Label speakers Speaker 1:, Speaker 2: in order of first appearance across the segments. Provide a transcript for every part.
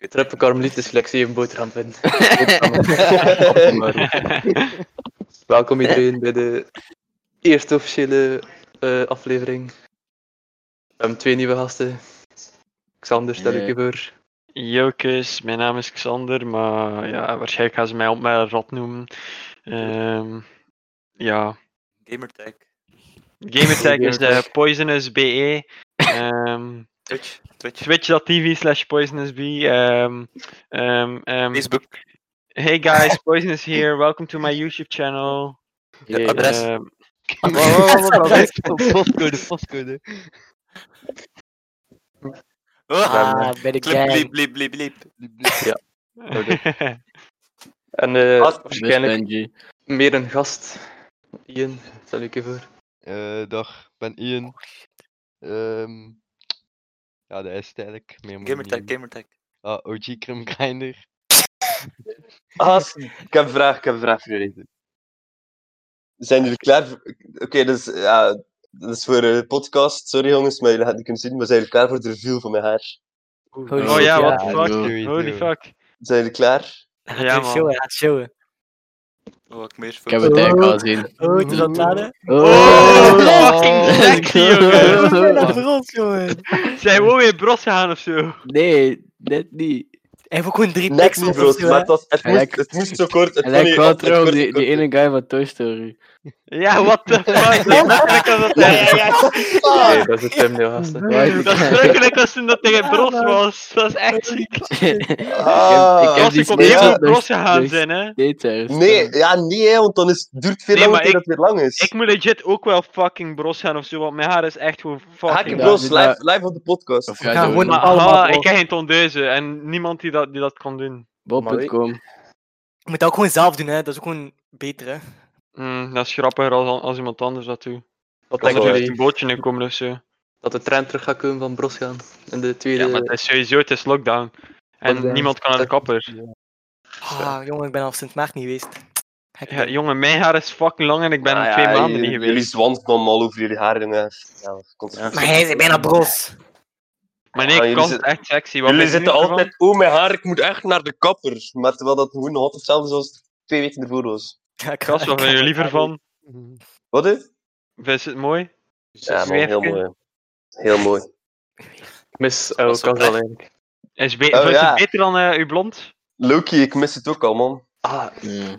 Speaker 1: Je treppe karmeliet flexie een boterham vinden. Welkom iedereen bij de eerste officiële eh, aflevering. We hebben twee nieuwe gasten. Xander, stel ik je voor.
Speaker 2: Jokes, mijn naam is Xander, maar ja, waarschijnlijk gaan ze mij op mijn rot noemen. Ehm, ja,
Speaker 3: Gamertag,
Speaker 2: Gamertag is de Poisonous BE. Ehm,
Speaker 3: Twitch, Twitch,
Speaker 2: Twitch.tv slash Poisonous B. ehm, ehm, ehm,
Speaker 3: Facebook.
Speaker 2: hey guys, Poisonous here, welcome to my YouTube channel.
Speaker 3: Ja, adres.
Speaker 2: Ehm,
Speaker 4: Postcode, postcode.
Speaker 3: Ah,
Speaker 4: Ah, bij de
Speaker 3: Clip, bliep,
Speaker 4: gang.
Speaker 3: bliep, bliep, bliep.
Speaker 1: En eh,
Speaker 3: Gast.
Speaker 1: waarschijnlijk meer een gast. Ian, stel ik je voor.
Speaker 5: Eh, dag, ik ben Ian. Ehm, ja, dat is het eigenlijk. Meer moet ik
Speaker 3: Gamertag,
Speaker 5: niet doen.
Speaker 3: Gamertag.
Speaker 5: Ah, OG Crim Grinder.
Speaker 6: Haas, ik heb een vraag, ik heb een vraag voor jullie. Zijn jullie klaar? voor- Oké, dus, ja, dat is voor de podcast. Sorry jongens, maar jullie gaan het niet kunnen zien. Maar zijn jullie klaar voor de review van mijn haar?
Speaker 4: Holy
Speaker 2: oh
Speaker 4: shit,
Speaker 2: ja, what
Speaker 4: ja.
Speaker 2: the fuck,
Speaker 5: Doei,
Speaker 2: holy
Speaker 5: doei.
Speaker 2: fuck.
Speaker 6: Zijn jullie klaar?
Speaker 2: Ja
Speaker 4: Gaat showen,
Speaker 2: man.
Speaker 4: gaat showen.
Speaker 3: Oh, ik meer
Speaker 7: Ik heb het eigenlijk al gezien.
Speaker 4: Oh, het is aan het laden.
Speaker 2: Oh, fucking sexy, jongen.
Speaker 4: dat brons, jongen.
Speaker 2: Zijn we ook weer bros gegaan of zo?
Speaker 7: Nee, net niet.
Speaker 4: Hij heeft ook gewoon drie
Speaker 6: Net
Speaker 4: teksten
Speaker 6: niet, bro. Maar het, was, het,
Speaker 7: Hij
Speaker 6: moest,
Speaker 7: lijkt-
Speaker 6: het moest zo kort. Het
Speaker 7: Hij
Speaker 6: kon
Speaker 7: lijkt
Speaker 6: niet-
Speaker 7: wel
Speaker 6: het kon
Speaker 7: trouw op
Speaker 6: kort-
Speaker 7: die, die ene guy van Toy Story.
Speaker 2: Ja, what the fuck. Dat is letterlijk als dat hij-
Speaker 1: Oké, dat is het thumbnail gasten.
Speaker 7: Right.
Speaker 2: Dat is letterlijk als toen dat tegen Bros was. Dat is echt ziek.
Speaker 6: dus Ah.
Speaker 7: Ik heb
Speaker 2: Als
Speaker 7: die Dus, eh,
Speaker 2: ik opnieuw
Speaker 7: snake
Speaker 2: op Bros
Speaker 7: nog-
Speaker 2: gegaan
Speaker 6: dus-
Speaker 7: nog
Speaker 2: zijn, hè.
Speaker 7: steeds ergens.
Speaker 6: Nee, ja, nee, hè, want dan is, duurt het veel
Speaker 2: Nee,
Speaker 6: langer
Speaker 2: maar
Speaker 6: voordat het weer lang is.
Speaker 2: Ik moet legit ook wel fucking Bros gaan of zo, want mijn haar is echt gewoon
Speaker 6: Haak in
Speaker 2: fucking...
Speaker 7: Ja,
Speaker 6: Bros,
Speaker 7: dit-
Speaker 6: live, live op de podcast.
Speaker 7: Of
Speaker 4: We
Speaker 7: ja,
Speaker 4: gaan
Speaker 7: zo,
Speaker 4: gewoon
Speaker 2: Maar
Speaker 7: maar...
Speaker 4: allemaal
Speaker 2: ah,
Speaker 4: Bros.
Speaker 2: ik heb geen tondeuze en niemand die dat, die dat kan doen.
Speaker 7: Bob.com.
Speaker 4: Je moet dat ook gewoon zelf doen, hè. Dat is ook gewoon beter, hè.
Speaker 2: Mm, dat is grappiger als, als iemand anders dat doet.
Speaker 1: Wat
Speaker 2: Ik denk
Speaker 1: denken
Speaker 2: dat er echt
Speaker 1: jullie
Speaker 2: een bootje in komen of zo.
Speaker 1: dat de trein terug gaat komen van Bros gaan? In de tweede.
Speaker 2: Ja, maar het is sowieso, het is lockdown. En
Speaker 1: Lockdown.
Speaker 2: niemand kan naar de kapper.
Speaker 4: Ah, jongen, ik ben al sinds maart niet geweest. Gek,
Speaker 2: Ja,
Speaker 4: man.
Speaker 2: jongen, mijn haar is fucking lang en ik ben
Speaker 6: Ah, ja,
Speaker 2: twee maanden
Speaker 6: jullie-
Speaker 2: niet
Speaker 6: Jullie
Speaker 2: geweest.
Speaker 6: zwans kwam al over jullie haar, jongen. Ja, komt er goed.
Speaker 4: Maar hij is bijna bros.
Speaker 2: Maar nee,
Speaker 6: Ah,
Speaker 2: ik
Speaker 6: jullie
Speaker 2: kan het
Speaker 6: zit-
Speaker 2: echt sexy. Wat
Speaker 6: Jullie
Speaker 2: vind je nu
Speaker 6: zitten
Speaker 2: ervan?
Speaker 6: altijd, oh mijn haar, ik moet echt naar de kapper. Maar terwijl dat gewoon nog altijd hetzelfde is als twee weken ervoor was.
Speaker 4: Ja, ik
Speaker 2: Kas, wat vind je liever van?
Speaker 6: Wat is?
Speaker 2: Vind je het mooi?
Speaker 6: Ja, man,
Speaker 2: zweefje.
Speaker 6: heel mooi. Heel mooi.
Speaker 1: Ik mis Eh, oude
Speaker 3: Dat was
Speaker 1: kans al eigenlijk.
Speaker 2: Is be-
Speaker 6: Oh,
Speaker 2: vind je
Speaker 6: ja.
Speaker 2: het beter dan eh, uw blond?
Speaker 6: Loki, ik mis het ook al, man.
Speaker 1: Ah,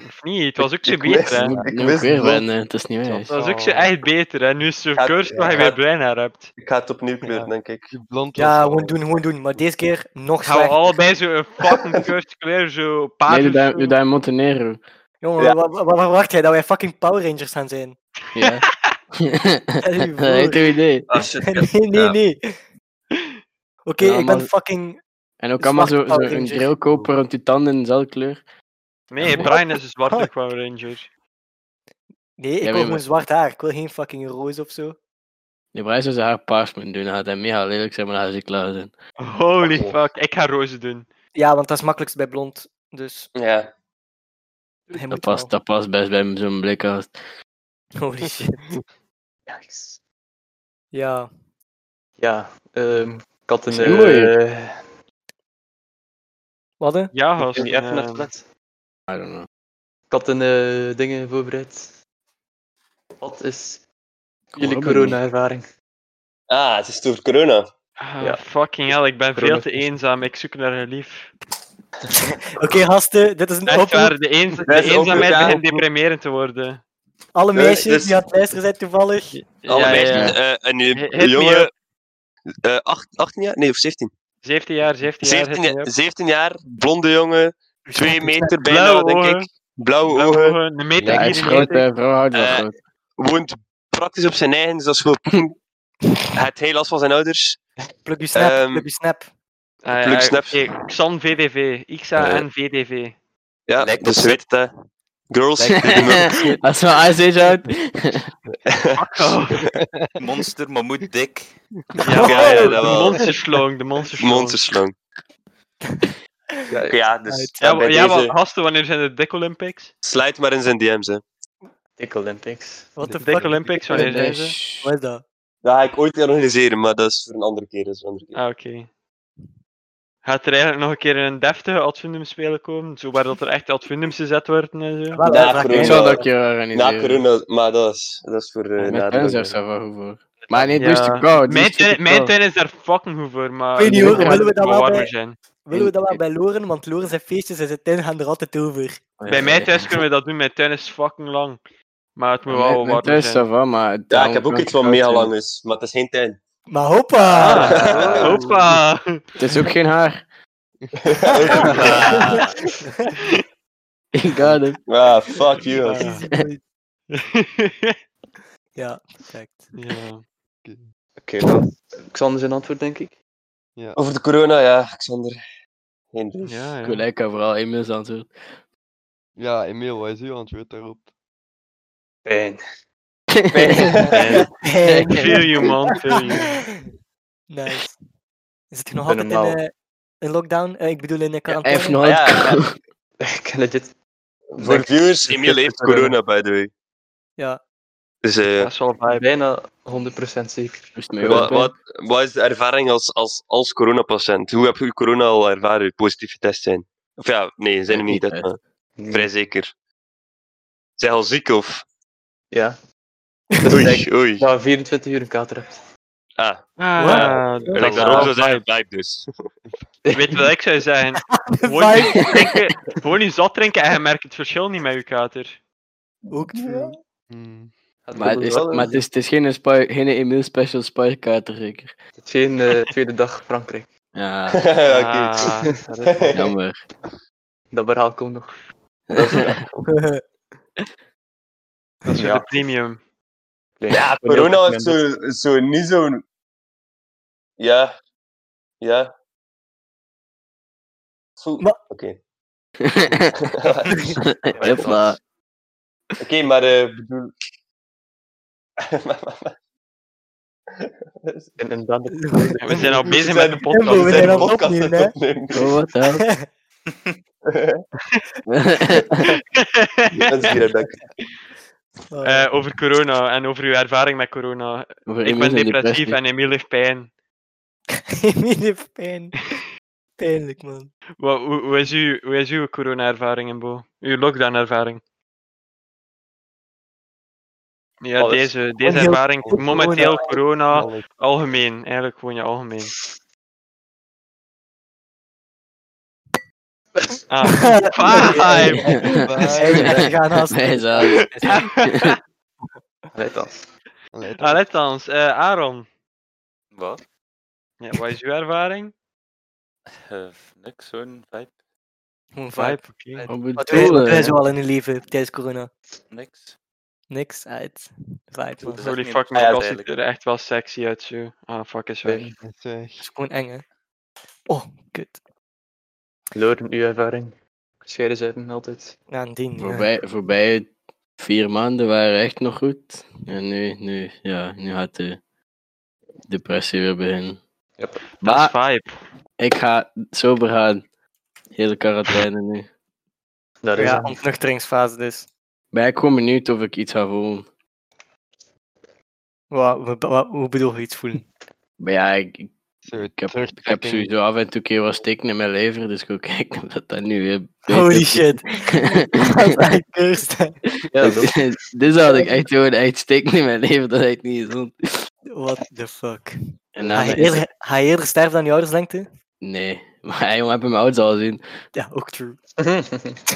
Speaker 2: Of niet? Het was ook zo
Speaker 6: Ik mis-
Speaker 2: beter, hè?
Speaker 6: Ik
Speaker 7: Nu
Speaker 6: wist
Speaker 7: moet ik weer
Speaker 6: het wel.
Speaker 7: wennen, het is niet
Speaker 2: Het
Speaker 7: wijs.
Speaker 2: was ook zo echt beter, hè? Nu is het zo
Speaker 6: Gaat-
Speaker 2: curse dat je
Speaker 6: ja,
Speaker 2: weer
Speaker 6: gaat-
Speaker 2: bruin haar hebt.
Speaker 6: Ik ga het opnieuw kleuren, denk ik.
Speaker 5: Die blond was
Speaker 4: Ja,
Speaker 5: wel-
Speaker 4: gewoon doen, gewoon doen. Maar deze keer nog
Speaker 2: Gaan we
Speaker 4: slechter.
Speaker 2: allebei zo een fucking curse kleur, zo paard.
Speaker 7: Nee, doe
Speaker 2: of
Speaker 7: daar-
Speaker 2: zo?
Speaker 7: doe daar in Montenegro.
Speaker 4: Jongen,
Speaker 6: Ja.
Speaker 4: wat, verwacht jij? Dat wij fucking Power Rangers gaan zijn?
Speaker 7: Ja.
Speaker 4: je
Speaker 7: Dat
Speaker 4: voor.
Speaker 7: is een idee.
Speaker 6: Ah, shit.
Speaker 4: nee, nee,
Speaker 6: Ja.
Speaker 4: nee. Oké,
Speaker 7: Ja,
Speaker 4: ik ben
Speaker 7: maar-
Speaker 4: fucking...
Speaker 7: En ook allemaal zo'n zo
Speaker 4: Zwarte
Speaker 7: een
Speaker 4: Ranger.
Speaker 7: grill kopen rond je tanden in dezelfde kleur.
Speaker 2: Nee, Brian is een zwarte Power Ranger.
Speaker 4: Nee, ik
Speaker 7: Ja,
Speaker 4: wil
Speaker 7: maar-
Speaker 4: gewoon zwart haar. Ik wil geen fucking roze of zo.
Speaker 7: Die bruis zou zijn haar paars moeten doen. Dan gaat hij mega lelijk zijn, maar dan gaat ze klaar zijn.
Speaker 2: Holy
Speaker 6: Oh.
Speaker 2: fuck, ik ga roze doen.
Speaker 4: Ja, want dat is makkelijkst bij blond. Dus
Speaker 6: Ja.
Speaker 4: hij
Speaker 7: Dat
Speaker 4: moet
Speaker 7: past, dat past best bij zo'n blik als.
Speaker 4: wel. Holy shit.
Speaker 1: nice.
Speaker 4: Ja.
Speaker 1: Ja, ehm, ik had een.
Speaker 7: Zijn mooi.
Speaker 1: eh,
Speaker 4: Wat hè?
Speaker 2: Ja, gast.
Speaker 1: Ik ben niet even naar
Speaker 2: eh,
Speaker 1: het toilet.
Speaker 7: I don't know.
Speaker 1: Ik had een eh, dingen voorbereid. Wat is jullie
Speaker 7: Waarom
Speaker 1: corona-ervaring?
Speaker 6: Ah, het is het over corona.
Speaker 2: ah,
Speaker 1: Ja.
Speaker 2: Fucking hell, ik ben veel te
Speaker 1: Corona.
Speaker 2: eenzaam. Ik zoek naar een lief.
Speaker 4: Oké, gasten, dit is een
Speaker 2: Echt
Speaker 4: oproep.
Speaker 2: waar, de, eenz- de
Speaker 6: Best oproep,
Speaker 2: eenzaamheid
Speaker 6: ja.
Speaker 2: begint deprimerend te worden.
Speaker 4: Alle
Speaker 6: Nee,
Speaker 4: meisjes
Speaker 6: dus-
Speaker 4: die aan het luisteren zijn toevallig.
Speaker 6: Alle
Speaker 2: ja,
Speaker 6: meisjes.
Speaker 2: ja.
Speaker 6: eh, en nu,
Speaker 2: Hit me
Speaker 6: jongen. eh, acht- 18 jaar? Nee, of 17.
Speaker 2: 17 jaar, 17 jaar.
Speaker 6: 17
Speaker 2: 17
Speaker 6: jaar, 17 jaar, blonde jongen. 2 meter bijna,
Speaker 2: Blauwe
Speaker 6: denk
Speaker 2: ogen,
Speaker 6: ik. Blauwe
Speaker 2: blauwe
Speaker 6: ogen.
Speaker 2: ogen, een
Speaker 7: Ja,
Speaker 2: meter
Speaker 7: hij is
Speaker 2: 94.
Speaker 7: groot, hè, vrouw houdt wel
Speaker 6: Eh,
Speaker 7: groot.
Speaker 6: Woont praktisch op zijn eigen, dus dat is gewoon. Hij heeft heel last van zijn ouders.
Speaker 4: Pluk je snap,
Speaker 6: Ehm,
Speaker 4: pluk je snap.
Speaker 2: Ah,
Speaker 6: Pluk
Speaker 2: ja,
Speaker 6: snaps.
Speaker 2: oké, Xan VDV, XAN VDV.
Speaker 6: Ja,
Speaker 7: Lijkt
Speaker 6: dus
Speaker 7: op-
Speaker 6: ze weet het, hè. Girls, dit doen we.
Speaker 7: Als we Ice Age uit.
Speaker 3: Monster, mammoet, dik.
Speaker 2: Oh. Ja,
Speaker 6: ja, ja,
Speaker 2: de
Speaker 6: dat wel.
Speaker 2: monsterslang, de monsterslang.
Speaker 6: monsterslang.
Speaker 1: Ja,
Speaker 6: Oké, ja, dus
Speaker 4: Uit.
Speaker 2: Ja,
Speaker 6: bij
Speaker 2: wa- ja
Speaker 6: deze,
Speaker 2: wat gasten, wanneer zijn de Dick Olympics?
Speaker 6: Slide maar in zijn DM's, hè.
Speaker 1: Dick Olympics.
Speaker 4: Wat
Speaker 2: De
Speaker 4: de
Speaker 2: Dick
Speaker 4: fuck?
Speaker 2: Olympics, wanneer zijn ze?
Speaker 4: Wat is dat?
Speaker 6: Dat ga ik ooit organiseren, maar dat is voor een andere keer. Dat is voor een andere keer.
Speaker 2: Ah, oké. Ah, Gaat er eigenlijk nog een keer een deftige Advendum spelen komen? Zo waar dat er echt Advendums gezet worden en zo?
Speaker 4: Wel,
Speaker 6: Ja,
Speaker 4: vraag
Speaker 6: corona.
Speaker 7: Ik
Speaker 4: ik
Speaker 7: zou
Speaker 4: me-
Speaker 7: dat een keer
Speaker 6: Na
Speaker 7: organiseren.
Speaker 6: corona, maar dat is, dat is voor eh, na
Speaker 7: Met
Speaker 6: de
Speaker 7: pens
Speaker 6: lockdown.
Speaker 7: of zo, wel goed voor. Maar dus nee, die
Speaker 2: Ja.
Speaker 7: is te koud. die
Speaker 2: Mijn
Speaker 7: is te
Speaker 2: tuin- Mijn
Speaker 7: koud.
Speaker 2: tuin is daar fucking goed voor, maar...
Speaker 4: Ik weet niet,
Speaker 2: die
Speaker 7: hoor,
Speaker 2: gaat
Speaker 4: willen we dat wel
Speaker 2: warmer
Speaker 4: bij-
Speaker 2: zijn.
Speaker 4: Willen we dat wel bij Loren? Want Loren zijn feestjes en zijn tuin gaan er altijd over.
Speaker 2: Bij mij thuis kunnen we dat doen, mijn tuin is fucking lang. Maar het moet
Speaker 7: Mijn-
Speaker 2: wel
Speaker 7: Mijn
Speaker 2: warm
Speaker 7: tuin
Speaker 2: zijn.
Speaker 7: is ça va, maar... het
Speaker 6: Ja, ik
Speaker 7: hangt
Speaker 6: heb ook
Speaker 7: wel
Speaker 6: iets wat
Speaker 7: koud
Speaker 6: mega
Speaker 7: in.
Speaker 6: lang is, maar het is geen tuin.
Speaker 4: Maar hoppa!
Speaker 2: Ah, hoppa!
Speaker 7: Het is ook geen haar. Ik ga het.
Speaker 6: ah, fuck you.
Speaker 2: Ja.
Speaker 6: man.
Speaker 4: Ja, perfect.
Speaker 2: ja.
Speaker 1: Oké, wel. Xander zijn antwoord, denk ik.
Speaker 6: Over de corona, ja, Xander. Geen brief.
Speaker 2: Ja, ja.
Speaker 7: Collega vooral, Emil's antwoord.
Speaker 5: Ja, Emil, wat is uw antwoord daarop?
Speaker 1: Fijn.
Speaker 2: Ja. Feel you, man. Feel you.
Speaker 4: nice. Is het nog
Speaker 1: ben
Speaker 4: altijd in,
Speaker 1: normaal.
Speaker 4: eh, in lockdown? Eh, ik bedoel in de
Speaker 7: Hij heeft
Speaker 4: quarantaine?
Speaker 7: nog
Speaker 6: Ah, ja,
Speaker 7: altijd koud.
Speaker 1: Ik ken legit.
Speaker 6: Voor
Speaker 1: denk-
Speaker 6: viewers, Emiel heeft corona, by the way.
Speaker 4: Ja.
Speaker 6: Dus eh
Speaker 2: Dat is wel vibe.
Speaker 1: Bijna 100% zeker.
Speaker 7: Moest mij
Speaker 6: wat,
Speaker 7: ook-
Speaker 6: wat, wat is de ervaring als, als, als coronapatiënt? Hoe heb je corona al ervaren? Positief getest zijn? Of ja, nee, zijn er
Speaker 7: Nee,
Speaker 6: niet,
Speaker 7: niet
Speaker 6: hè,
Speaker 7: echt.
Speaker 6: maar vrij zeker. Zijn al ziek of?
Speaker 1: Ja.
Speaker 6: Oei, oei.
Speaker 1: Dat je 24 uur een kater hebt.
Speaker 6: Ah,
Speaker 2: Ah,
Speaker 6: en
Speaker 2: dat
Speaker 6: ik
Speaker 2: is
Speaker 6: daarom
Speaker 2: wel vibe.
Speaker 6: zou zeggen, blijf dus.
Speaker 2: Weet je wat ik zou zeggen? Gewoon
Speaker 4: Vibe.
Speaker 2: niet drinken, gewoon niet zat drinken en je merkt het verschil niet met je kater.
Speaker 4: Ook true.
Speaker 5: Hmm.
Speaker 7: Maar, het is, maar het is, het is geen, spy, geen Emil Special Spykater, zeker.
Speaker 1: Het is geen eh, tweede dag Frankrijk.
Speaker 7: Ja,
Speaker 6: Oké.
Speaker 2: Ah, dat is wel-
Speaker 7: jammer.
Speaker 1: Dat verhaal komt nog.
Speaker 2: dat is voor
Speaker 1: Ja.
Speaker 2: de premium.
Speaker 6: Ja, corona heeft zo, zo niet zo'n. Ja. Ja. Zo- Oké.
Speaker 4: Maar-
Speaker 6: Oké,
Speaker 7: Hopla.
Speaker 6: maar eh bedoel.
Speaker 1: En, en dan de
Speaker 2: We zijn al bezig
Speaker 6: zijn-
Speaker 2: met de
Speaker 4: Jumbo, we
Speaker 2: podcast. Eh,
Speaker 4: zijn
Speaker 6: een
Speaker 4: aan het
Speaker 6: podcast aan het
Speaker 4: opnemen,
Speaker 6: opnemen.
Speaker 7: Oh, wat dan?
Speaker 6: Dat is hier het dak.
Speaker 4: Oh,
Speaker 2: Eh, over corona en over uw ervaring met corona. Ik ben depressief en Emiel heeft pijn.
Speaker 4: Emile heeft pijn. Pijnlijk, man.
Speaker 2: Wat, hoe, hoe is uw, hoe is uw corona-ervaring, Embo? Uw lockdown-ervaring? Ja,
Speaker 1: Alles.
Speaker 2: deze, deze
Speaker 4: heel
Speaker 2: ervaring.
Speaker 4: goed
Speaker 2: Momenteel corona,
Speaker 5: Alles.
Speaker 2: algemeen. Eigenlijk gewoon je algemeen. Ah, vibe!
Speaker 4: Hij gaat haast.
Speaker 7: Wij zouden-
Speaker 1: Let dan.
Speaker 5: Allee,
Speaker 2: Ah, let ons. eh, Aaron,
Speaker 3: Wat?
Speaker 2: ja, wat is uw ervaring?
Speaker 3: Eh, niks, zo'n vibe.
Speaker 4: Gewoon vibe.
Speaker 2: oké.
Speaker 7: Op het
Speaker 4: Wat wij- wat
Speaker 7: doel,
Speaker 4: wij
Speaker 7: hè.
Speaker 4: zo al in hun leven tijdens corona?
Speaker 3: Niks.
Speaker 4: Niks uit. Vibe, man.
Speaker 3: Dat is
Speaker 2: Holy
Speaker 3: echt
Speaker 2: fuck,
Speaker 3: niet
Speaker 2: mijn
Speaker 3: ja,
Speaker 2: kast ziet
Speaker 3: duidelijk.
Speaker 2: er echt wel sexy uit, zo. Ah, fuck, is weg.
Speaker 1: Fijn.
Speaker 5: dat is eh,
Speaker 8: Eh,
Speaker 5: weg.
Speaker 4: Dat is gewoon eng, hè. Oh, kut.
Speaker 1: Loren, uw ervaring. Scheiden ze hem altijd.
Speaker 4: Ja, een ding. ja.
Speaker 7: Voorbij, voorbij vier maanden waren echt nog goed. En nu, nu, ja, nu gaat de depressie weer beginnen.
Speaker 1: Yep.
Speaker 2: Dat is
Speaker 7: Maar
Speaker 2: vibe.
Speaker 7: ik ga sober gaan. Hele quarantaine nu.
Speaker 1: Daar is
Speaker 4: Ja,
Speaker 1: hem.
Speaker 4: ontnuchteringsfase dus.
Speaker 7: Ben ik gewoon benieuwd of ik iets ga voelen.
Speaker 4: Wat, wat, wat- hoe bedoel je iets voelen?
Speaker 7: Maar ja, ik, ik
Speaker 5: Zo,
Speaker 7: ik heb, ik heb
Speaker 5: terugtrekking.
Speaker 7: sowieso af en toe keer wat steken in mijn lever, dus ik wil kijken of dat, dat nu weer...
Speaker 4: Holy shit. Dat is echt cursed, hè.
Speaker 1: Ja, dat is
Speaker 7: dus had ik echt gewoon echt steken in mijn lever, dat is niet gezond.
Speaker 4: What the fuck.
Speaker 7: En
Speaker 4: Ga
Speaker 7: dan,
Speaker 4: je eerder, ga je eerder sterven dan je ouders lengte?
Speaker 7: nee, maar jongen, heb hem oud al zien.
Speaker 4: Ja, ook true.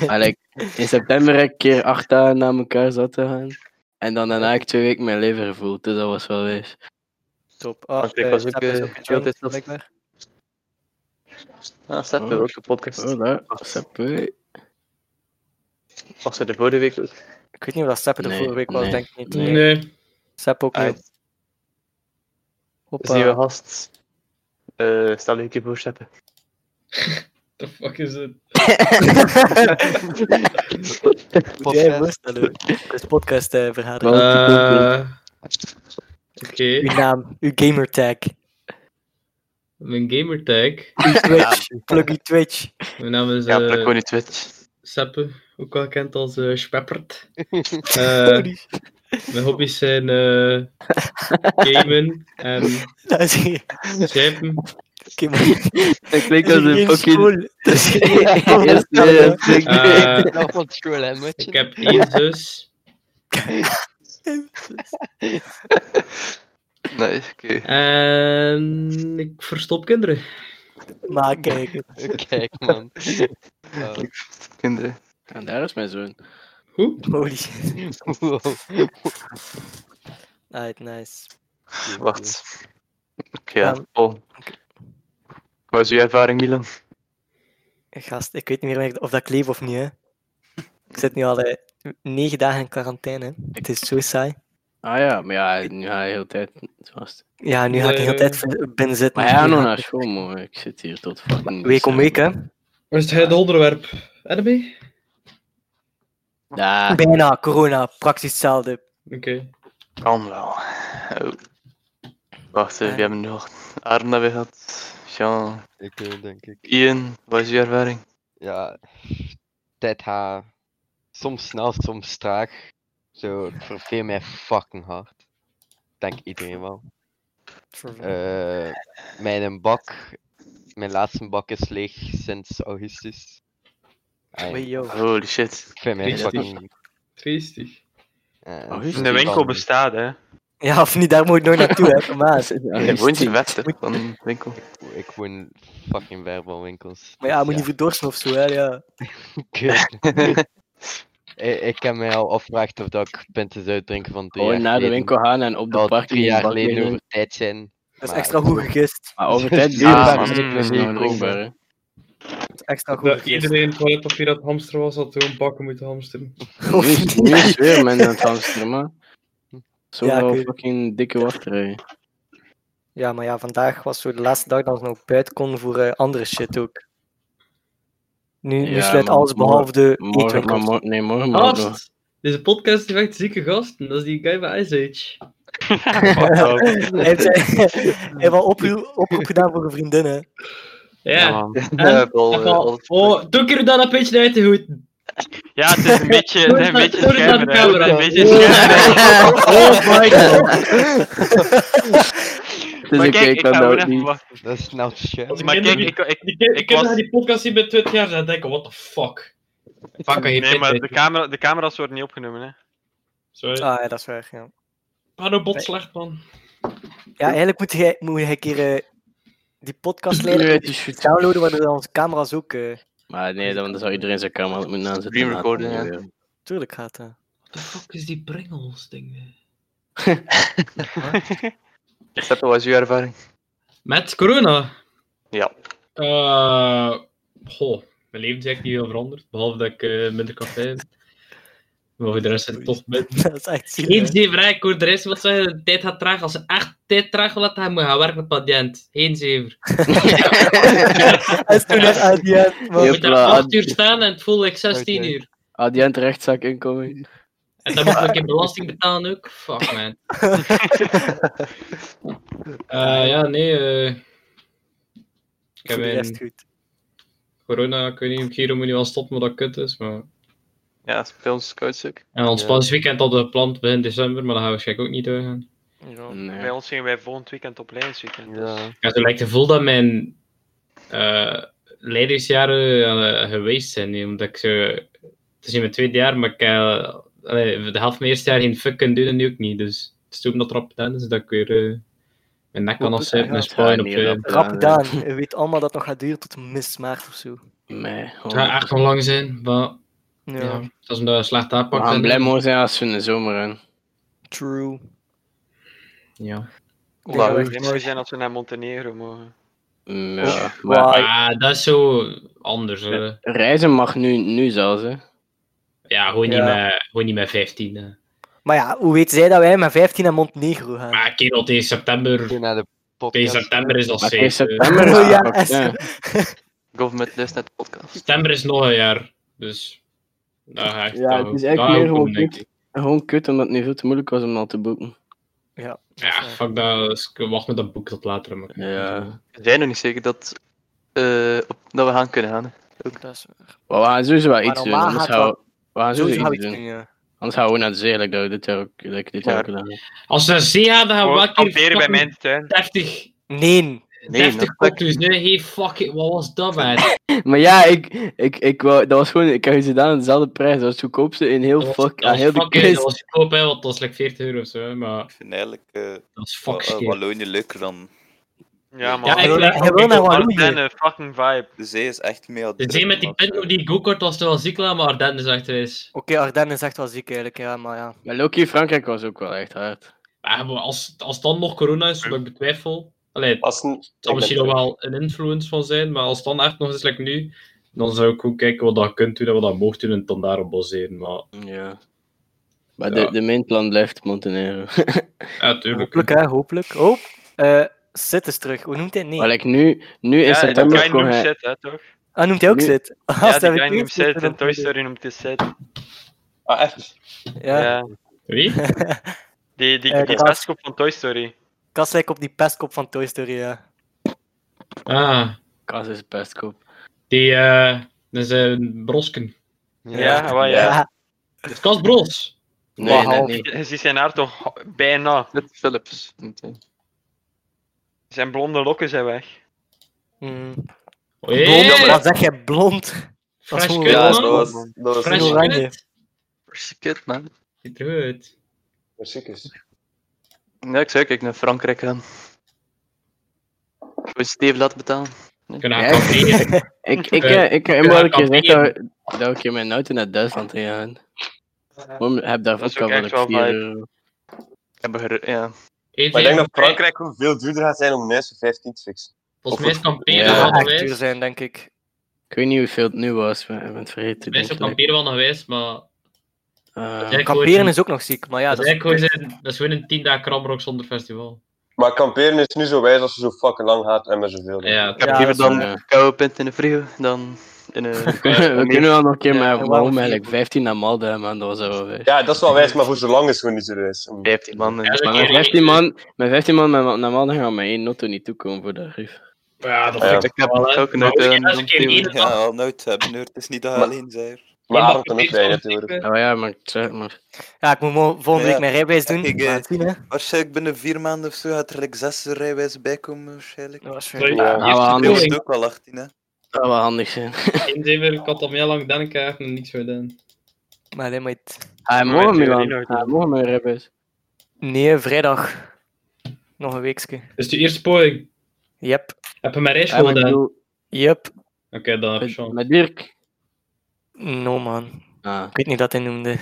Speaker 7: Maar like, in september heb ik een keer acht dagen na elkaar zat te gaan. En dan daarna heb ik twee weken mijn lever gevoeld, dus dat was wel wijs.
Speaker 4: Top. Ah,
Speaker 1: Want ik
Speaker 4: eh,
Speaker 1: was ook,
Speaker 4: Stef is
Speaker 1: eh,
Speaker 4: een
Speaker 1: heel de tijd
Speaker 4: jong,
Speaker 1: zelf-
Speaker 4: blijkbaar.
Speaker 1: Ah, Stef, we hebben ook de podcast.
Speaker 7: Oh, daar, sappé.
Speaker 1: Was er de vorige week ook.
Speaker 4: Ik weet niet of dat Sepp er de
Speaker 7: Nee,
Speaker 4: vorige week was,
Speaker 7: nee,
Speaker 4: denk ik niet.
Speaker 7: nee.
Speaker 8: Nee.
Speaker 4: Sepp ook
Speaker 1: Ah,
Speaker 4: niet.
Speaker 1: Dat is nieuwe
Speaker 4: Hoppa.
Speaker 1: gast. Eh stel je voor Steppen.
Speaker 8: The fuck is het?
Speaker 4: Moet jij je voorstellen? Het is podcast eh, vergadering.
Speaker 7: Wel-
Speaker 8: Eh, Oké,
Speaker 4: Uw naam, uw gamertag.
Speaker 8: mijn gamertag.
Speaker 4: Uw Twitch. Plug uw Twitch.
Speaker 8: Mijn naam is
Speaker 1: Ja, pluk
Speaker 8: eh
Speaker 1: gewoon je Twitch.
Speaker 8: Seppe, ook wel gekend als eh Speppert. Eh, mijn hobby's zijn eh gamen en
Speaker 4: Dat is hier.
Speaker 8: schrijven
Speaker 4: Oké, maar
Speaker 7: Dat klinkt
Speaker 4: dat
Speaker 7: als
Speaker 4: is
Speaker 7: een
Speaker 4: geen
Speaker 7: fucking...
Speaker 4: school. Dat is geen-
Speaker 7: Eerste flik-
Speaker 8: Eh,
Speaker 5: Nog wat school, hè,
Speaker 8: ik
Speaker 5: maatje?
Speaker 8: heb één zus
Speaker 1: Nee, oké.
Speaker 8: en ik verstop kinderen.
Speaker 4: Maar kijk,
Speaker 5: Kijk, man. Oh,
Speaker 1: Ik verstop kinderen.
Speaker 7: En daar is mijn zoon.
Speaker 8: Hoe?
Speaker 4: holy shit.
Speaker 5: wow.
Speaker 4: Alright, nice.
Speaker 1: Wacht. Oké, ja.
Speaker 4: Ehm,
Speaker 1: Paul. Wat is uw ervaring, Milan?
Speaker 4: Gast, ik weet niet meer meer of dat ik leef of niet, hè. Ik zit nu al eh, negen dagen in quarantaine, hè. Het is zo saai.
Speaker 7: Ah ja, maar ja, nu ga je heel tijd vast.
Speaker 4: Ja, nu ga ik de hele
Speaker 8: Eh.
Speaker 4: tijd v- binnen zitten.
Speaker 7: Maar ja,
Speaker 4: Nu
Speaker 7: nog
Speaker 4: ga
Speaker 7: naar
Speaker 4: ik
Speaker 7: school, man. Ik zit hier tot fucking...
Speaker 4: Week om week, hè.
Speaker 8: Is het onderwerp? Ermee?
Speaker 7: Ja,
Speaker 4: Bijna, corona, praktisch hetzelfde.
Speaker 8: Oké.
Speaker 1: Kan wel. Oh. Wacht, eh,
Speaker 4: Eh.
Speaker 1: we hebben nog Arne hebben we gehad. Jean,
Speaker 5: Ik eh, denk ik.
Speaker 1: Ian, wat is uw ervaring?
Speaker 5: Ja, tijd gaat soms snel, soms traag. Zo, het verveelt mij fucking hard. Denk iedereen wel. Eh, mijn bak, mijn laatste bak is leeg sinds augustus. Ah ja,
Speaker 4: Wee, yo.
Speaker 1: Holy shit.
Speaker 5: ik vind mij
Speaker 8: Triestig.
Speaker 5: fucking...
Speaker 8: Feestig.
Speaker 5: eh,
Speaker 7: Augustus.
Speaker 2: De winkel bestaat, hè.
Speaker 4: Ja, of niet, daar moet ik nog naartoe, hè. Maar,
Speaker 1: Je woont je
Speaker 7: je
Speaker 1: weg, hè, van een winkel.
Speaker 5: Ik, ik woon fucking ver van winkels.
Speaker 4: maar ja,
Speaker 5: dus
Speaker 4: moet niet verdorsen of zo, hè. Ja.
Speaker 5: Kut. ik, Eh, ik heb mij al afgevraagd of dat ik punten zou drinken van drie
Speaker 7: Gewoon
Speaker 5: jaar
Speaker 7: naar Oh, de
Speaker 5: geleden.
Speaker 7: winkel gaan en op de
Speaker 5: Al
Speaker 7: parking
Speaker 5: drie
Speaker 7: een
Speaker 5: jaar
Speaker 7: bak
Speaker 5: geleden
Speaker 7: nemen.
Speaker 5: over tijd zijn.
Speaker 4: Dat is
Speaker 5: Maar
Speaker 4: extra
Speaker 5: ik-
Speaker 4: goed gegist.
Speaker 7: Maar over tijd duurt
Speaker 5: Ja,
Speaker 7: dat
Speaker 1: man.
Speaker 7: niet meer
Speaker 1: Mm.
Speaker 7: snel drinkbaar, hè.
Speaker 4: Dat is extra goed
Speaker 8: Dat
Speaker 4: gegist.
Speaker 8: iedereen toiletpapier dat hamster was, had gewoon bakken moeten hamsteren.
Speaker 4: Of
Speaker 7: Nu is-
Speaker 4: niet?
Speaker 7: nu is weer men aan het hamsteren, man.
Speaker 4: Ja,
Speaker 7: Zoveel
Speaker 4: ik weet-
Speaker 7: fucking dikke wachtrij.
Speaker 4: Ja, maar ja, vandaag was zo de laatste dag dat we nog buiten konden voor eh, andere shit ook. Nu, nu
Speaker 7: Ja,
Speaker 4: sluit
Speaker 7: maar
Speaker 4: alles behalve de E
Speaker 7: Morgen, maar
Speaker 4: eetwinkels.
Speaker 7: mor- nee,
Speaker 8: Oh,
Speaker 7: morgen maar nog.
Speaker 8: Gast! Deze podcast heeft echt zieke gasten. Dat is die guy bij Ice Age.
Speaker 4: Hij heeft, hij heeft al opro- oproep gedaan voor een vriendin, hè.
Speaker 2: Ja,
Speaker 8: Ja.
Speaker 2: man.
Speaker 1: Ja, Paul,
Speaker 8: dat
Speaker 1: eh,
Speaker 8: wel.
Speaker 1: altijd-
Speaker 8: oh, doe ik er dan een beetje uit te goed.
Speaker 2: ja, het is een beetje, het is een beetje
Speaker 8: Sorry, sorry,
Speaker 2: scherper, hè.
Speaker 8: sorry,
Speaker 2: Het is Een
Speaker 8: sorry.
Speaker 2: beetje scherper.
Speaker 8: Oh my god.
Speaker 7: Het is
Speaker 2: Maar
Speaker 7: oké,
Speaker 2: kijk,
Speaker 7: Dus ik
Speaker 2: ik
Speaker 7: kan
Speaker 2: ga
Speaker 7: dat
Speaker 2: gewoon
Speaker 7: ook
Speaker 2: even
Speaker 7: niet.
Speaker 2: wachten.
Speaker 5: Dat is nou shit.
Speaker 2: Maar kijk, ik, ik,
Speaker 8: Die kin- die
Speaker 2: was-
Speaker 8: kinderen die die podcast zien met 20 jaar zijn denken, what the fuck. Fuck, kan je
Speaker 2: Nee,
Speaker 8: nee,
Speaker 2: maar de, camera, de camera's worden niet opgenomen, hè.
Speaker 8: Sorry.
Speaker 4: Ah, ja, dat is waar, ja.
Speaker 8: Hallo, bot slecht, man.
Speaker 4: Ja, eigenlijk moet jij, moet jij een keer eh, die podcast
Speaker 7: Nee,
Speaker 4: leren
Speaker 7: het is goed.
Speaker 4: downloaden, waardoor dan onze camera's ook eh
Speaker 7: Maar nee, dan, dan zou iedereen zijn camera moeten aanzetten.
Speaker 1: Dream recording,
Speaker 7: Later,
Speaker 1: hè.
Speaker 7: ja.
Speaker 4: tuurlijk gaat. Hè.
Speaker 8: What the fuck is die Pringles ding?
Speaker 1: Seppo, wat is uw ervaring?
Speaker 8: Met corona?
Speaker 1: Ja.
Speaker 8: Eh, goh, mijn leven is eigenlijk niet heel veranderd. Behalve dat ik eh, minder café heb. Maar voor de rest zit het toch met.
Speaker 4: Dat is echt
Speaker 8: Geen
Speaker 4: zielig.
Speaker 8: zeverij, ik hoor de rest wat zeggen. De tijd gaat traag. Als ze echt tijd traag wil laten, dan moet je gaan werken met patiënt. Geen zever.
Speaker 4: hè. Hij is toen net uit die hand, man.
Speaker 8: Je
Speaker 7: Ja.
Speaker 8: moet daar
Speaker 7: Jepla,
Speaker 8: 8 uur staan en het voelt like 16
Speaker 5: Oké.
Speaker 8: uur.
Speaker 7: Adient rechtszaak inkomen.
Speaker 8: En dan moet ik je belasting betalen ook. Fuck man. Eh, ja, nee. eh, ik
Speaker 4: Voor
Speaker 8: heb
Speaker 4: de
Speaker 8: mijn
Speaker 4: rest goed.
Speaker 8: corona, ik weet niet, Giro moet nu wel stoppen, maar dat kut is. Maar...
Speaker 1: Ja, films, coachstuk.
Speaker 8: En ons
Speaker 5: Ja.
Speaker 8: weekend hadden we gepland begin december, maar dat gaan we waarschijnlijk ook niet doorgaan.
Speaker 2: Bij
Speaker 7: Nee.
Speaker 2: ons gingen wij volgend weekend op Leidsweekend. Dus.
Speaker 5: Ja.
Speaker 8: Ja, zo lijkt het gevoel dat mijn eh leidersjaren eh, geweest zijn. hè, Omdat ik zo... Het is in mijn tweede jaar, maar ik heb allee, de helft van mijn eerste jaar geen fuck kunnen doen en nu ook niet. Dus het is toen dat erop gedaan is dat ik weer eh, mijn nek kan
Speaker 4: Goed,
Speaker 8: afzetten, mijn
Speaker 4: ja.
Speaker 8: spuien
Speaker 7: Ja,
Speaker 8: op...
Speaker 7: niet
Speaker 8: eh,
Speaker 7: rap.
Speaker 4: Rap
Speaker 7: Ja,
Speaker 4: gedaan. Je weet allemaal dat het nog gaat duren tot mis maart of zo.
Speaker 7: Nee.
Speaker 8: Het
Speaker 7: hoor.
Speaker 8: gaat echt nog lang zijn, maar
Speaker 4: Ja,
Speaker 8: ja. dat is omdat we slecht
Speaker 7: We
Speaker 8: aanpakt.
Speaker 7: gaan
Speaker 8: en-
Speaker 7: blij mogen zijn als we in de zomer gaan.
Speaker 4: true.
Speaker 8: Ja.
Speaker 1: Oeh,
Speaker 2: Het zou mooi zijn als we naar Montenegro mogen.
Speaker 7: Mm,
Speaker 4: Of-
Speaker 7: Ja, maar
Speaker 4: Ah,
Speaker 8: Ah, dat is zo anders. eh.
Speaker 7: reizen mag nu, nu zelfs, hè.
Speaker 8: Ja, gewoon,
Speaker 4: Ja.
Speaker 8: Niet met, gewoon niet met 15. eh.
Speaker 4: Maar ja, hoe weet zij dat wij met 15 naar Montenegro gaan?
Speaker 8: Ah, kerel, tegen september.
Speaker 5: Toen naar de
Speaker 8: Tegen
Speaker 5: podcast.
Speaker 8: september is al
Speaker 7: Maar in
Speaker 8: safe. eh.
Speaker 7: september is
Speaker 4: Oh, ja,
Speaker 7: het ook,
Speaker 4: echt.
Speaker 7: ja.
Speaker 1: Government Listenet podcast.
Speaker 8: September is nog een jaar. Dus. Daar ga ik
Speaker 7: Ja,
Speaker 8: daar
Speaker 7: het is
Speaker 8: ook-
Speaker 7: echt
Speaker 8: daar
Speaker 7: meer
Speaker 8: ook
Speaker 7: gewoon
Speaker 8: om, denk
Speaker 7: kut.
Speaker 8: ik.
Speaker 7: Gewoon kut, omdat het nu veel te moeilijk was om dat te boeken.
Speaker 4: Ja,
Speaker 8: Ja, fuck dat. dus ik wacht met dat boek tot later. Maar...
Speaker 7: Ja.
Speaker 1: We zijn nog niet zeker dat, eh, op, dat we gaan kunnen gaan. hè.
Speaker 4: dat is
Speaker 7: Maar we gaan sowieso wel
Speaker 4: Maar
Speaker 7: iets doen,
Speaker 4: normaal
Speaker 7: anders
Speaker 4: gaat
Speaker 7: gaan we... We
Speaker 8: Ah,
Speaker 7: gaan
Speaker 4: Sowieso
Speaker 7: sowieso
Speaker 4: gaan we
Speaker 7: iets
Speaker 4: iets doen,
Speaker 7: doen.
Speaker 4: ja.
Speaker 7: Anders gaan we gewoon naar de zee, like dat we dit jaar ook, like dit jaar
Speaker 1: Ja.
Speaker 7: ook gedaan hebben.
Speaker 8: Als we naar zee gaan, dan gaan we
Speaker 2: Gewoon
Speaker 8: wel een keer
Speaker 2: kamperen bij
Speaker 8: fucking
Speaker 2: mijn tuin.
Speaker 8: 30.
Speaker 4: Nee,
Speaker 2: Nee,
Speaker 8: 30
Speaker 2: dat-
Speaker 8: kokkels, nee, hey, fuck it, wat was dat, man?
Speaker 7: Maar ja, ik, ik, ik wou, dat was gewoon, ik had je gedaan aan dezelfde prijs. Dat was het goedkoopste in heel,
Speaker 8: Dat was-
Speaker 7: fuck,
Speaker 8: dat
Speaker 7: aan
Speaker 8: was
Speaker 7: heel de
Speaker 8: fucking- Dat
Speaker 7: kist.
Speaker 8: was goedkoop, hè, want dat was like 40 euro of zo, hè, maar
Speaker 3: Ik vind eigenlijk eh,
Speaker 8: dat is
Speaker 3: Wa-
Speaker 8: fuck
Speaker 3: eh,
Speaker 8: shit.
Speaker 3: Wallonië leuker dan...
Speaker 2: Ja,
Speaker 8: Ja,
Speaker 2: man.
Speaker 8: ik wil naar-
Speaker 4: ik wil naar Wallonië.
Speaker 2: Ardennen, fucking vibe.
Speaker 3: De zee is echt mega
Speaker 8: De zee met die pint op die go-kart was toch wel ziek, laat, maar Ardennen is echt reis.
Speaker 4: Oké, Ardennen is echt wel ziek eigenlijk, ja, maar ja.
Speaker 7: Maar Loki Frankrijk was ook wel echt hard.
Speaker 8: Maar als, als dan nog corona is, wat ik betwijfel. Allee, het
Speaker 6: Als een...
Speaker 8: zal
Speaker 6: Ik ben
Speaker 8: misschien nog
Speaker 6: terug.
Speaker 8: wel een influence van zijn, maar als dan echt nog eens like nu, dan zou ik ook kijken wat dat kunt doen en wat dat mocht doen en het dan daarop baseren. Maar
Speaker 7: Ja. Maar
Speaker 8: Ja.
Speaker 7: de, de mainplan blijft Montenegro.
Speaker 8: ja, tuurlijk.
Speaker 4: Hopelijk, hè, hopelijk. Oh, eh Zit is terug. Hoe noemt hij het? Nee.
Speaker 7: Maar like, nu, nu in
Speaker 2: Ja,
Speaker 7: september
Speaker 2: die guy
Speaker 7: kon
Speaker 2: noemt
Speaker 7: hij...
Speaker 2: Zed, hè, toch?
Speaker 4: Ah, noemt hij ook
Speaker 7: Nu-
Speaker 4: Zit?
Speaker 2: Ja, die guy noemt Zed en Toy Story noemt hij Zed.
Speaker 6: Ah, echt?
Speaker 4: Ja,
Speaker 2: Ja.
Speaker 8: Wie?
Speaker 2: Die, die,
Speaker 4: Eh,
Speaker 2: die
Speaker 4: Cas.
Speaker 2: pestkop van Toy Story.
Speaker 4: Kas lijkt op die pestkop van Toy Story, ja.
Speaker 8: Ah,
Speaker 7: Kas is best koop.
Speaker 8: die, eh, dat is een brosken.
Speaker 2: Ja, waar, ja.
Speaker 4: Ja,
Speaker 8: Dat is Cas Bros.
Speaker 7: Nee,
Speaker 6: Wauw.
Speaker 7: net niet.
Speaker 2: Je ziet zijn haar toch bijna.
Speaker 1: Met Philips. niet, hè.
Speaker 2: Zijn blonde lokken zijn weg.
Speaker 4: mm.
Speaker 8: Oh, hey,
Speaker 4: Blond, wat zeg jij, blond? Dat is
Speaker 8: Fresh
Speaker 4: gewoon
Speaker 8: cut,
Speaker 6: Ja,
Speaker 4: roze.
Speaker 6: dat
Speaker 8: man.
Speaker 6: was... Dat was
Speaker 8: Fresh
Speaker 4: Heel
Speaker 6: heel
Speaker 4: oranje.
Speaker 8: cut.
Speaker 1: Verse Kid, man.
Speaker 8: Ziet er goed uit.
Speaker 6: Zeker.
Speaker 1: Ja, ik zou kijk naar Frankrijk gaan. Gewoon Steve laten betalen.
Speaker 8: Kunnen
Speaker 7: Ja.
Speaker 8: haar kamperen.
Speaker 7: Ik, ik,
Speaker 8: Eh,
Speaker 7: eh, ik heb
Speaker 8: kunnen
Speaker 7: eenmaal een keer
Speaker 8: kamperen.
Speaker 7: gezegd dat, we- dat we een keer met Nouten naar Duitsland heen gaan. Waarom heb daar
Speaker 2: Dat is
Speaker 7: vodka
Speaker 2: ook
Speaker 7: van
Speaker 2: echt wel
Speaker 7: op 4
Speaker 2: vibe.
Speaker 7: euro?
Speaker 1: Hamburger, ja.
Speaker 8: Eén
Speaker 6: Maar ik denk
Speaker 8: van-
Speaker 6: dat Frankrijk gewoon veel duurder gaat zijn om een huis voor 15 te fixen.
Speaker 8: Volgens mij is kamperen
Speaker 7: Ja,
Speaker 8: wel
Speaker 4: Ja,
Speaker 8: nog
Speaker 4: echt duur
Speaker 8: wijs.
Speaker 4: zijn, denk ik.
Speaker 7: Ik weet niet hoeveel het nu was, we hebben het vergeten.
Speaker 8: Mensen
Speaker 7: denk ik.
Speaker 8: kamperen wel nog wijs, maar...
Speaker 7: Eh,
Speaker 8: Ja, ik hoor
Speaker 4: Kamperen
Speaker 8: je.
Speaker 4: is ook nog ziek, maar ja,
Speaker 8: dat,
Speaker 4: dat
Speaker 8: is
Speaker 4: is
Speaker 8: eigenlijk gewoon een, dat is gewoon een 10 dagen kramrock zonder festival.
Speaker 6: Maar kamperen is nu zo wijs als je zo fucking lang gaat en maar zoveel. doen.
Speaker 8: Ja,
Speaker 1: Ik heb
Speaker 4: Ja,
Speaker 1: liever
Speaker 4: dat is
Speaker 1: dan eh,
Speaker 7: waar, ja.
Speaker 1: koude pint in de frio dan in een...
Speaker 7: we kunnen wel nog een keer,
Speaker 4: Ja, en
Speaker 7: maar
Speaker 4: waarom
Speaker 7: waarom
Speaker 4: vier?
Speaker 7: eigenlijk 15 naar Malden, man? Dat was wel wijs.
Speaker 6: Ja, dat is wel wijs, maar voor zo lang is het gewoon niet zo wijs. Om-
Speaker 1: 15 man.
Speaker 8: Ja,
Speaker 1: En...
Speaker 8: dat
Speaker 7: Maar
Speaker 8: kan
Speaker 7: met
Speaker 8: je-
Speaker 7: 15 man, met 15 man met- naar Malden gaan we met één notto niet toekomen voor de arrief.
Speaker 8: Ja, dat
Speaker 6: Ja.
Speaker 8: vind ik
Speaker 1: Ik heb
Speaker 8: wel, hè.
Speaker 1: ook een
Speaker 8: Maar
Speaker 1: uit,
Speaker 8: ook
Speaker 1: eh,
Speaker 8: geen- als ik in
Speaker 1: een
Speaker 8: één dag-
Speaker 3: Ja, wel nooit hebben hoor. Het is niet dat je
Speaker 6: Maar-
Speaker 3: alleen bent.
Speaker 6: Maar
Speaker 8: Ja,
Speaker 6: Aaron kan ook
Speaker 8: maar-
Speaker 6: rijden tegenwoordig.
Speaker 7: Oh ja, maar, ik zeg maar
Speaker 4: Ja, ik moet mo- volgende
Speaker 3: Ja,
Speaker 4: week mijn rijbewijs doen.
Speaker 3: ik,
Speaker 4: Ik,
Speaker 3: eh,
Speaker 4: zien, hè.
Speaker 3: Waarschijnlijk binnen vier maanden of zo gaat er like zes rijwijzen bij komen waarschijnlijk.
Speaker 4: Dat was
Speaker 8: Sorry,
Speaker 4: weer-
Speaker 6: Ja.
Speaker 8: eerste
Speaker 7: Ah,
Speaker 3: Ik
Speaker 7: nee.
Speaker 8: bedoeling.
Speaker 3: was ook al 18 hè.
Speaker 7: dat zou wel handig zijn.
Speaker 8: In Zeeburg, ik had al heel lang denken, echt nog niks meer gedaan.
Speaker 4: Maar alleen maar het-
Speaker 7: Hij
Speaker 2: Maar
Speaker 7: morgen
Speaker 2: met
Speaker 7: Milan,
Speaker 2: theorie nooit,
Speaker 7: hij
Speaker 2: hè.
Speaker 7: morgen met Rebbes.
Speaker 4: Nee, vrijdag. Nog een weekje.
Speaker 8: Dus de eerste poging.
Speaker 4: Yep.
Speaker 8: Heb je mijn reis
Speaker 7: Hij
Speaker 8: gedaan? Oké,
Speaker 7: bedoel,
Speaker 4: Yep.
Speaker 8: dan heb je
Speaker 7: met,
Speaker 8: chance.
Speaker 7: met Dirk.
Speaker 4: No, man.
Speaker 7: Ah,
Speaker 4: Ik weet niet wat hij noemde.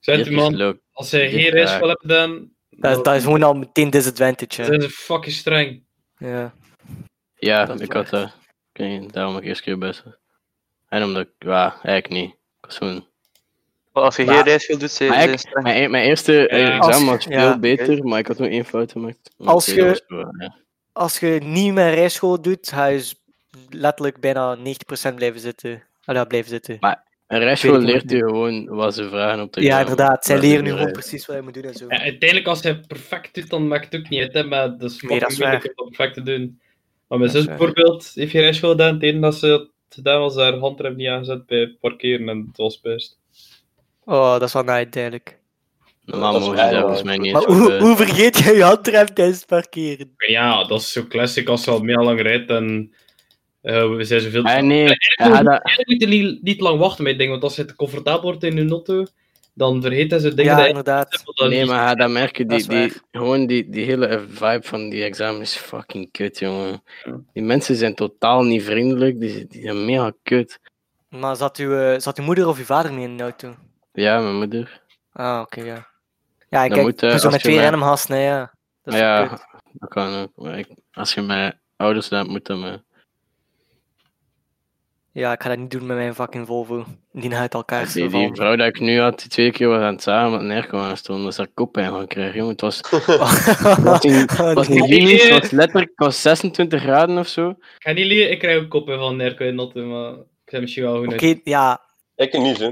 Speaker 8: Zet die man,
Speaker 7: leuk.
Speaker 8: als hij
Speaker 7: Dit
Speaker 8: geen
Speaker 7: is
Speaker 8: reis wil hebben gedaan,
Speaker 4: Dat, is- dat is gewoon al meteen disadvantage. hè.
Speaker 8: zijn ze fucking streng.
Speaker 4: Ja.
Speaker 7: Ja,
Speaker 4: Dat is
Speaker 7: ik had dat. Oké, daarom heb ik eerst keer best. En omdat ik, ja, eigenlijk niet. Ik was gewoon
Speaker 1: Als je geen
Speaker 7: Maar-
Speaker 1: reis wil doen, zijn
Speaker 7: Maar
Speaker 1: zijn
Speaker 7: ik-
Speaker 1: streng.
Speaker 7: Mijn, e- mijn eerste eh,
Speaker 8: Ja.
Speaker 7: examen
Speaker 4: Als-
Speaker 7: was
Speaker 4: ja.
Speaker 7: veel beter, maar ik had nog één fout gemaakt. Maar
Speaker 4: Als
Speaker 7: oké, dat
Speaker 4: je-
Speaker 7: was wel- ja.
Speaker 4: Als je niet met rijschool doet, ga je s- letterlijk bijna 90% blijven zitten. Ah, ja, blijven zitten.
Speaker 7: Een
Speaker 4: weet
Speaker 7: rijschool
Speaker 4: het
Speaker 7: leert je gewoon wat ze vragen op de
Speaker 4: Ja,
Speaker 7: examen.
Speaker 4: inderdaad. Zij
Speaker 7: Dat
Speaker 4: leren nu
Speaker 7: is
Speaker 4: gewoon
Speaker 7: niet
Speaker 4: precies wat je moet doen en zo.
Speaker 8: Ja, uiteindelijk, als hij perfect doet, dan maakt het ook niet uit, hè, maar
Speaker 4: Nee,
Speaker 8: dat is fucking
Speaker 4: dat is
Speaker 8: moeilijk om dat perfect te doen. Maar mijn
Speaker 4: Dat is
Speaker 8: zus
Speaker 4: waar.
Speaker 8: bijvoorbeeld heeft geen reis gedaan, het enige dat ze had gedaan was haar handrem niet aangezet bij parkeren en het was best.
Speaker 4: Oh, dat is wel night, duidelijk.
Speaker 7: Normaal
Speaker 6: Dat is
Speaker 7: mogen ze
Speaker 6: wel
Speaker 7: daar
Speaker 6: waar.
Speaker 7: volgens mij niet
Speaker 4: Maar
Speaker 7: eens
Speaker 4: hoe,
Speaker 7: op, eh,
Speaker 4: hoe vergeet jij je handrem tijdens het parkeren?
Speaker 8: Ja, dat is zo classic als je al meer lang rijdt en eh, we zijn zoveel...
Speaker 7: Ah, nee, hij
Speaker 8: moet
Speaker 7: had dat-
Speaker 8: eigenlijk moet je niet, niet lang wachten met dingen, want als je te comfortabel wordt in je auto, dan vergeet hij zo dingen
Speaker 4: Ja,
Speaker 8: dat je-
Speaker 4: inderdaad.
Speaker 8: dat je
Speaker 7: nee,
Speaker 8: niet-
Speaker 7: maar hij had dat merken.
Speaker 4: Dat
Speaker 7: Die,
Speaker 4: is
Speaker 7: die,
Speaker 4: waar.
Speaker 7: gewoon die, die hele vibe van die examen is fucking kut, jongen. Die mensen zijn totaal niet vriendelijk. Die, die zijn mega kut.
Speaker 4: Maar zat uw, eh, zat uw moeder of uw vader mee in de auto?
Speaker 7: Ja, mijn moeder.
Speaker 4: Ah, oké, ja. Ja, ik
Speaker 7: Dan
Speaker 4: kijk,
Speaker 7: moet, eh,
Speaker 4: zo
Speaker 7: als
Speaker 4: met
Speaker 7: je
Speaker 4: twee
Speaker 7: met-
Speaker 4: rennemhasten, hè, ja. Dat is eh,
Speaker 7: ja,
Speaker 4: kut.
Speaker 7: dat kan ook. Maar ik- als je met ouders laat, moet dan... eh,
Speaker 4: ja, ik ga dat niet doen met mijn fucking Volvo. Die uit elkaar is
Speaker 7: Die, die
Speaker 4: gevallen.
Speaker 7: vrouw dat ik nu had, die twee keer was aan het zagen met een airco aan stond, dus haar koppijn gaan krijgen. Jongen, het was, het was, in, het was in juni, het was letterlijk het was 26 graden of zo.
Speaker 8: Ik ga niet liegen, ik krijg ook koppen van Nerko en Notte, maar ik ben misschien wel goed
Speaker 4: Oké,
Speaker 8: uit.
Speaker 4: ja.
Speaker 6: Ik kan niet, hè.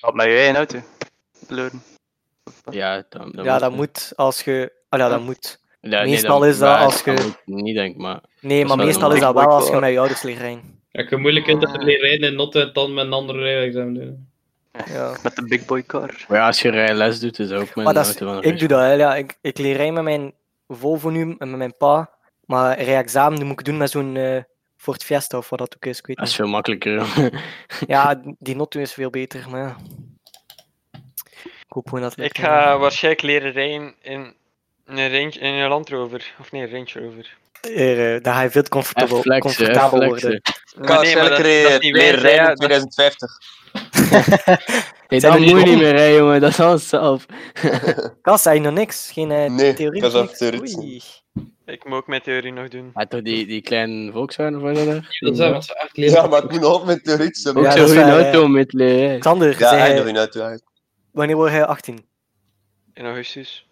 Speaker 1: Wat met jij in auto? Leuren.
Speaker 7: Ja, dan, dan
Speaker 4: ja, dat
Speaker 7: hè.
Speaker 4: moet als je... Oh ja, dat moet.
Speaker 7: Ja, nee,
Speaker 4: Meestal is dat
Speaker 7: maar
Speaker 4: als
Speaker 7: dat
Speaker 4: je-
Speaker 7: moet Niet denk, maar...
Speaker 4: Nee,
Speaker 7: Dat is
Speaker 4: maar
Speaker 7: wel
Speaker 4: meestal is
Speaker 7: normaal.
Speaker 4: dat wel als je met je ouders ligt rijden.
Speaker 8: Ja, ik heb moeilijk in
Speaker 2: Ah.
Speaker 8: dat leren rijden in Notte en dan met een andere rijexamen doen.
Speaker 4: Ja.
Speaker 1: Met de big boy car.
Speaker 7: Maar ja, als je rijles doet, is dat ook met
Speaker 4: Maar
Speaker 7: een
Speaker 4: dat is,
Speaker 7: auto van een
Speaker 4: ik doe
Speaker 7: restaurant.
Speaker 4: dat, hè, ja. Ik, ik leer rijden met mijn Volvo nu, en met mijn pa. Maar rijexamen moet ik doen met zo'n eh Ford Fiesta of wat dat ook is, ik weet
Speaker 7: Dat is
Speaker 4: niet.
Speaker 7: veel makkelijker. joh.
Speaker 4: Ja, die Notto is veel beter, maar ja. Ik hoop gewoon dat het
Speaker 2: Ik
Speaker 4: lukt, maar-
Speaker 2: ga waarschijnlijk leren rijden in een, range, in een Land Rover. Of nee, Range Rover.
Speaker 4: Eh, eh, daar ga je veel comfortabel,
Speaker 7: Even flexen,
Speaker 4: comfortabel
Speaker 7: even
Speaker 4: worden.
Speaker 6: Ik ga
Speaker 2: nee, maar
Speaker 6: waarschijnlijk
Speaker 2: dat- dat is
Speaker 6: leren
Speaker 2: niet
Speaker 6: leren
Speaker 2: wijs,
Speaker 6: eh, rijden
Speaker 2: hè,
Speaker 6: in
Speaker 2: dat-
Speaker 6: 2050.
Speaker 7: Nee,
Speaker 4: Zijn
Speaker 7: dat
Speaker 4: er
Speaker 7: moet je
Speaker 4: niet
Speaker 7: niet meer rijden, jongen. Dat is alles zelf.
Speaker 4: Kas, zei je nog niks? Geen eh,
Speaker 6: Nee,
Speaker 4: theorie?
Speaker 6: ik was
Speaker 4: nog
Speaker 6: aan
Speaker 4: niks?
Speaker 6: theoretisch.
Speaker 4: Oei.
Speaker 2: Ik moet ook mijn theorie nog doen.
Speaker 7: Maar toch die, die kleine Volkswagen of wat is dat daar?
Speaker 8: Dat is wat ze echt leren.
Speaker 6: Ja, maar ik moet nog op met theoretisch.
Speaker 7: Ook
Speaker 4: Ja,
Speaker 6: Ja,
Speaker 4: dat
Speaker 7: zo'n
Speaker 4: is
Speaker 7: goede
Speaker 4: waar,
Speaker 7: auto om mee te leren.
Speaker 4: Xander,
Speaker 6: ja
Speaker 4: zei
Speaker 6: hij
Speaker 4: hij-
Speaker 6: nog in auto. hij-
Speaker 4: wanneer word jij 18?
Speaker 2: In augustus.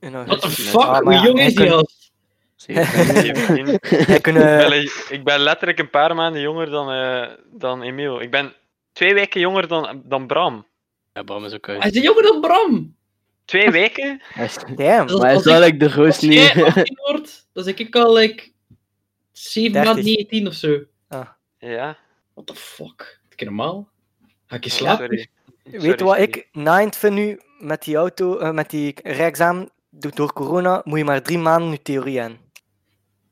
Speaker 4: In
Speaker 8: What
Speaker 4: augustus.
Speaker 8: the fuck?
Speaker 4: Ah, maar
Speaker 8: Hoe
Speaker 4: ja,
Speaker 8: jong
Speaker 4: hij
Speaker 8: is die
Speaker 4: kan-
Speaker 8: gast?
Speaker 2: Zeventien.
Speaker 4: Jij kunt, eh,
Speaker 2: Ik ben le- ik ben letterlijk een paar maanden jonger dan, eh, dan Emiel. Ik ben twee weken jonger dan, dan Bram.
Speaker 7: Ja, Bram is ook
Speaker 8: Hij
Speaker 7: uit.
Speaker 8: is jonger dan Bram.
Speaker 2: Twee weken?
Speaker 7: Hij is-
Speaker 4: damn.
Speaker 7: Maar hij is
Speaker 8: Als
Speaker 7: wel like de
Speaker 8: Als
Speaker 7: roos niet.
Speaker 8: jij 18 wordt, dan zeg ik al like 7 à
Speaker 4: 30.
Speaker 8: 19 of zo.
Speaker 2: Ja.
Speaker 8: What the fuck? Heb ik normaal? Ga ik je
Speaker 2: Ja,
Speaker 8: slapen?
Speaker 2: sorry.
Speaker 4: Weet je wat ik ninth vind nu met die auto, eh, met die rijexamen, do- door corona moet je maar drie maanden je theorie aan.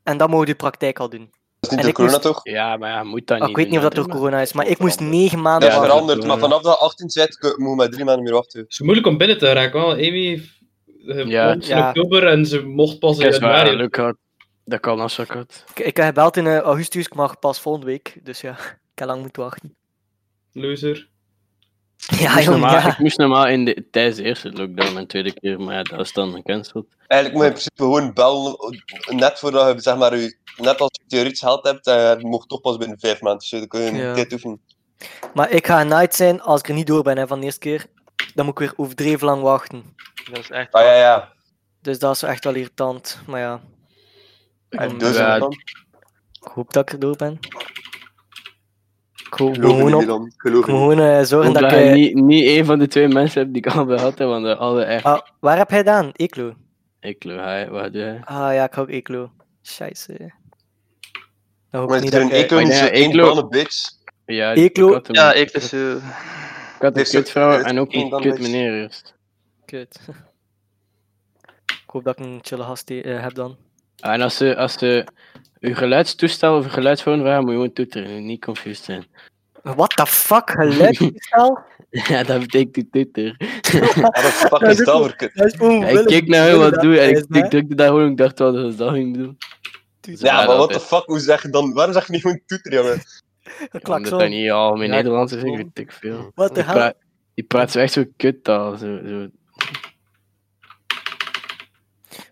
Speaker 4: En dan mogen je praktijk al doen.
Speaker 6: Dat is niet
Speaker 4: En
Speaker 6: door
Speaker 4: ik
Speaker 6: corona,
Speaker 4: moest-
Speaker 6: toch?
Speaker 7: Ja, maar ja, moet dat
Speaker 4: Ah,
Speaker 7: niet.
Speaker 4: ik weet niet
Speaker 7: doen,
Speaker 4: of dat door
Speaker 7: hè.
Speaker 4: corona is, maar ik moest
Speaker 7: Ja,
Speaker 4: negen maanden
Speaker 6: Dat is
Speaker 7: dat is
Speaker 4: wachten.
Speaker 6: veranderd,
Speaker 7: door-
Speaker 6: maar vanaf dat 18 zit, ik- moet je maar drie maanden meer wachten.
Speaker 8: Het is moeilijk om binnen te raken, want Amy eh,
Speaker 7: Ja.
Speaker 8: woont in
Speaker 4: Ja.
Speaker 8: oktober en ze mocht pas in
Speaker 7: Dat is waar,
Speaker 8: januari.
Speaker 7: leuk ook. Dat kan als ik had.
Speaker 4: Ik, ik heb gebeld in eh, augustus, ik mag pas volgende week. Dus ja, ik heb lang moeten wachten.
Speaker 8: Loser.
Speaker 4: Ja,
Speaker 7: moest
Speaker 4: jongen,
Speaker 7: normaal, Ik
Speaker 4: ja.
Speaker 7: moest normaal in de, tijdens de eerste lockdown en tweede keer, maar ja, dat is dan gecanceld.
Speaker 6: Eigenlijk moet je in principe gewoon bellen, net voordat je, zeg maar, je, net als je theoretisch geld hebt, en je mocht toch pas binnen vijf maanden. Dus dan kun je
Speaker 4: Ja.
Speaker 6: een tijd oefenen.
Speaker 4: Maar ik ga night zijn als ik er niet door ben hè, van de eerste keer. Dan moet ik weer overdreven lang wachten.
Speaker 2: Dat is echt.
Speaker 6: Ah ja, ja.
Speaker 4: Dus dat is echt wel irritant. Maar ja,
Speaker 6: En
Speaker 4: Mm.
Speaker 6: dus
Speaker 7: Ja,
Speaker 6: dan,
Speaker 4: ik hoop dat ik er door ben. Ik hoop
Speaker 6: geloof
Speaker 4: gewoon
Speaker 6: je
Speaker 4: op.
Speaker 6: niet
Speaker 4: Ik
Speaker 6: dan.
Speaker 4: moet
Speaker 6: Geloof je niet.
Speaker 4: gewoon eh, zorgen
Speaker 7: Omdat
Speaker 4: dat ik...
Speaker 7: je
Speaker 4: eh,
Speaker 7: niet, niet één van de twee mensen hebt die ik al gehad heb, want de alle echt...
Speaker 4: Ah, waar heb jij gedaan? Eclo.
Speaker 7: Ik loop, hij, wat doe jij?
Speaker 4: Ah ja, ik hou ook Eclo. Scheisse. Dan hoop ik
Speaker 6: Maar
Speaker 4: niet
Speaker 6: het is
Speaker 4: dat
Speaker 6: een
Speaker 4: ik... eh,
Speaker 6: eco, niet
Speaker 7: Maar
Speaker 6: zo
Speaker 7: ja,
Speaker 6: één
Speaker 7: Eeklo-
Speaker 6: banne bitch.
Speaker 7: Ja,
Speaker 4: Eeklo-
Speaker 7: ik had hem-
Speaker 1: Ja, ik dus. eh,
Speaker 7: ik had een
Speaker 6: Dit is-
Speaker 7: kutvrouw
Speaker 6: dit is
Speaker 7: en ook
Speaker 6: één
Speaker 7: een
Speaker 6: dan
Speaker 7: kut
Speaker 6: niks.
Speaker 7: meneer eerst.
Speaker 4: Kut. Ik hoop dat ik een chille gast die- eh, heb dan.
Speaker 7: Ah, en als ze, als ze je geluidstoestel of je geluidsvorm vragen, moet je gewoon toeteren, niet confused zijn.
Speaker 4: What the fuck? Geluidstoestel?
Speaker 7: Ja, dat betekent die toeter.
Speaker 6: Ah, dat fuck is dat voor kut?
Speaker 4: dat is
Speaker 7: Ja, ik
Speaker 4: onwillig.
Speaker 7: keek naar hem wat
Speaker 4: Dat
Speaker 7: doe en
Speaker 4: is,
Speaker 7: ik,
Speaker 4: hè?
Speaker 7: ik drukte daar gewoon ik dacht wel dat ze dat ging doen.
Speaker 6: Ja, maar what the fuck, hoe zeg je dan, waarom zeg je niet gewoon toeter, jongen?
Speaker 4: Een
Speaker 7: Omdat dat
Speaker 4: klakson.
Speaker 7: niet algemeen
Speaker 4: Ja,
Speaker 7: Nederlands is, ik
Speaker 4: klakson.
Speaker 7: weet ik veel.
Speaker 4: What the
Speaker 7: Die,
Speaker 4: hell?
Speaker 7: praat, die praat zo echt zo kut al. Zo, zo.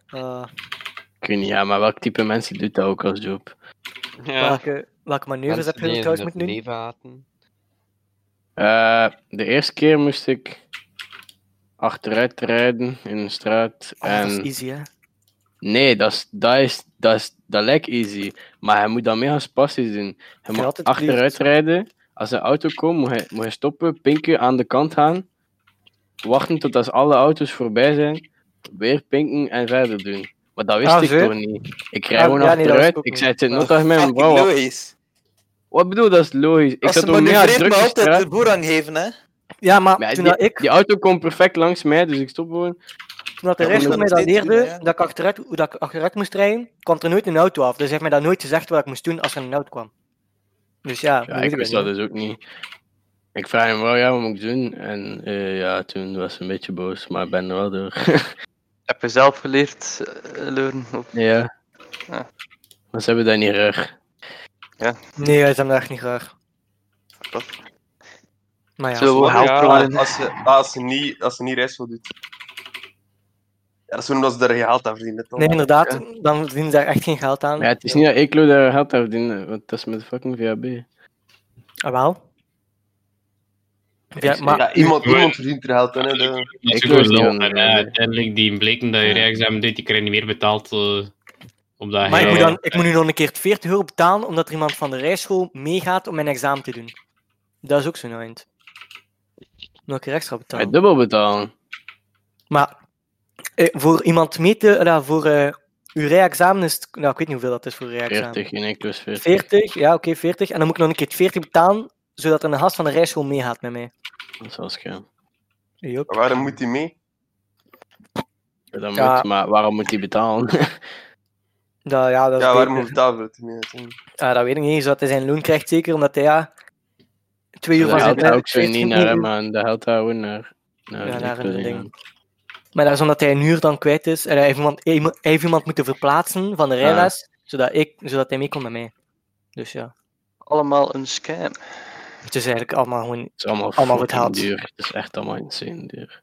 Speaker 4: Ah,
Speaker 7: Ik weet niet, ja, maar welk type mensen doet dat ook als job?
Speaker 2: Ja.
Speaker 4: welke, welke manoeuvres
Speaker 5: Mensen
Speaker 4: heb je
Speaker 5: die
Speaker 4: trouwens
Speaker 5: hun
Speaker 4: moeten doen?
Speaker 5: leven haten.
Speaker 7: Eh, de eerste keer moest ik achteruit rijden in een straat.
Speaker 4: Ah, dat is
Speaker 7: en...
Speaker 4: easy, hè?
Speaker 7: Nee, dat, is, dat, is, dat, is, dat lijkt easy. Maar hij moet dat mega spastisch doen.
Speaker 4: je
Speaker 7: Hij moet
Speaker 4: altijd vliegt,
Speaker 7: achteruit
Speaker 4: zo.
Speaker 7: rijden. Als een auto komt, moet hij, moet hij stoppen, pinken, aan de kant gaan. Wachten tot als alle auto's voorbij zijn. Weer pinken en verder doen. Maar dat wist
Speaker 4: Ah,
Speaker 7: ik
Speaker 4: zo?
Speaker 7: toch niet. Ik rij
Speaker 4: Ah,
Speaker 7: gewoon
Speaker 4: ja, nee, dat wist
Speaker 7: achteruit.
Speaker 4: ik ook
Speaker 7: ik
Speaker 4: niet.
Speaker 7: zei het
Speaker 4: Ah,
Speaker 7: nog tegen mijn
Speaker 3: Fucking
Speaker 7: vrouw. Wat,
Speaker 3: logisch.
Speaker 7: wat bedoel, dat is logisch. Ik
Speaker 3: Als
Speaker 7: zat
Speaker 3: ze
Speaker 7: op mega
Speaker 3: manoeuvreert,
Speaker 7: druk
Speaker 3: maar altijd
Speaker 7: straat.
Speaker 3: de boer aan geven, hè.
Speaker 4: Ja, maar
Speaker 7: Maar
Speaker 4: toen
Speaker 7: die,
Speaker 4: dat ik,
Speaker 7: die auto komt perfect langs mij, dus ik stop gewoon.
Speaker 4: toen dat de
Speaker 3: Ja,
Speaker 4: rest
Speaker 7: maar
Speaker 4: van mij
Speaker 3: dat
Speaker 4: dat
Speaker 3: moet je
Speaker 4: leerde,
Speaker 3: steeds doen, hè.
Speaker 4: dat ik achteruit, hoe dat ik achteruit moest rijden, kwam er nooit een auto af. Dus hij heeft mij dat nooit gezegd wat ik moest doen als er een auto kwam. Dus ja,
Speaker 7: Ja, ik wist dat dus ook niet. Ik vraag hem wel, ja, wat moet ik doen? En eh, ja, toen was ze een beetje boos, maar ik ben er wel door.
Speaker 1: heb je zelf geleerd eh, leuren? Of-
Speaker 7: ja.
Speaker 4: Ah.
Speaker 1: Ja.
Speaker 7: Maar ze hebben dat niet raar.
Speaker 4: Nee, dat is hem echt niet raar.
Speaker 1: Wat?
Speaker 4: Maar ja,
Speaker 1: Zo,
Speaker 6: Ja,
Speaker 1: helpen.
Speaker 6: Als je, als je niet, als je niet reis wil doen. Ja, dat is gewoon omdat ze daar geen geld aan verdienen, toch?
Speaker 4: nee, inderdaad, dan verdienen ze daar echt geen geld aan.
Speaker 7: Maar ja, het is niet dat ik Lo daar geld aan verdienen, want dat is met fucking VHB.
Speaker 4: Ah, wel. Ja,
Speaker 7: zeg-
Speaker 4: maar
Speaker 6: Ja, iemand,
Speaker 8: Ja.
Speaker 6: iemand verdient er geld aan, hè. de-
Speaker 8: Dat is
Speaker 7: Ik
Speaker 8: gewoon
Speaker 7: loos niet
Speaker 8: lol.
Speaker 7: onder,
Speaker 8: En, eh,
Speaker 7: ja.
Speaker 8: uiteindelijk die bleken dat je
Speaker 7: Ja.
Speaker 8: rijexamen doet, die krijg je niet meer betaald. eh, omdat
Speaker 4: Maar ik
Speaker 8: hij-
Speaker 4: moet, dan, ik moet nu nog een keer 40 euro betalen omdat er iemand van de rijschool meegaat om mijn examen te doen. Dat is ook zo'n eind. Nog een keer extra
Speaker 7: Ga je
Speaker 4: betalen.
Speaker 7: dubbel betalen.
Speaker 4: Maar eh, voor iemand mee te... eh, voor eh uw rijexamen is het... Nou, ik weet niet hoeveel dat is voor uw rijexamen.
Speaker 7: 40, in enkels 40.
Speaker 4: 40, ja, oké, 40. En dan moet ik nog een keer het 40 betalen, zodat er een gast van de rijschool meegaat met mij.
Speaker 7: Dat is wel schaam.
Speaker 4: Jop.
Speaker 6: Waarom moet hij mee?
Speaker 7: Ja, dat
Speaker 4: Ja.
Speaker 7: moet, maar waarom moet hij betalen?
Speaker 4: Dat, ja, dat is
Speaker 6: Ja, waarom
Speaker 4: beter.
Speaker 6: hoeft dat wel te meten?
Speaker 4: Ah, dat weet ik niet eens, wat hij zijn loon krijgt zeker, omdat hij ja, twee uur
Speaker 7: Dat
Speaker 4: van zijn
Speaker 7: helpt daar
Speaker 4: werk
Speaker 7: ook zo
Speaker 4: heeft
Speaker 7: niet naar, eh, hè,
Speaker 4: gegeven.
Speaker 7: man. Dat helpt daar ook naar. naar
Speaker 4: Ja,
Speaker 7: die
Speaker 4: naar een
Speaker 7: kleding
Speaker 4: ding.
Speaker 7: aan.
Speaker 4: Maar dat is omdat hij een huur dan kwijt is en hij heeft iemand, hij heeft iemand moeten verplaatsen
Speaker 7: Ah.
Speaker 4: van de rijles, zodat, ik, zodat hij mee kon met mij. Dus ja,
Speaker 1: Allemaal een scam.
Speaker 4: het is eigenlijk allemaal gewoon...
Speaker 7: Het is allemaal,
Speaker 4: Allemaal
Speaker 7: allemaal
Speaker 4: betaald.
Speaker 7: duur. Het is echt allemaal insane duur.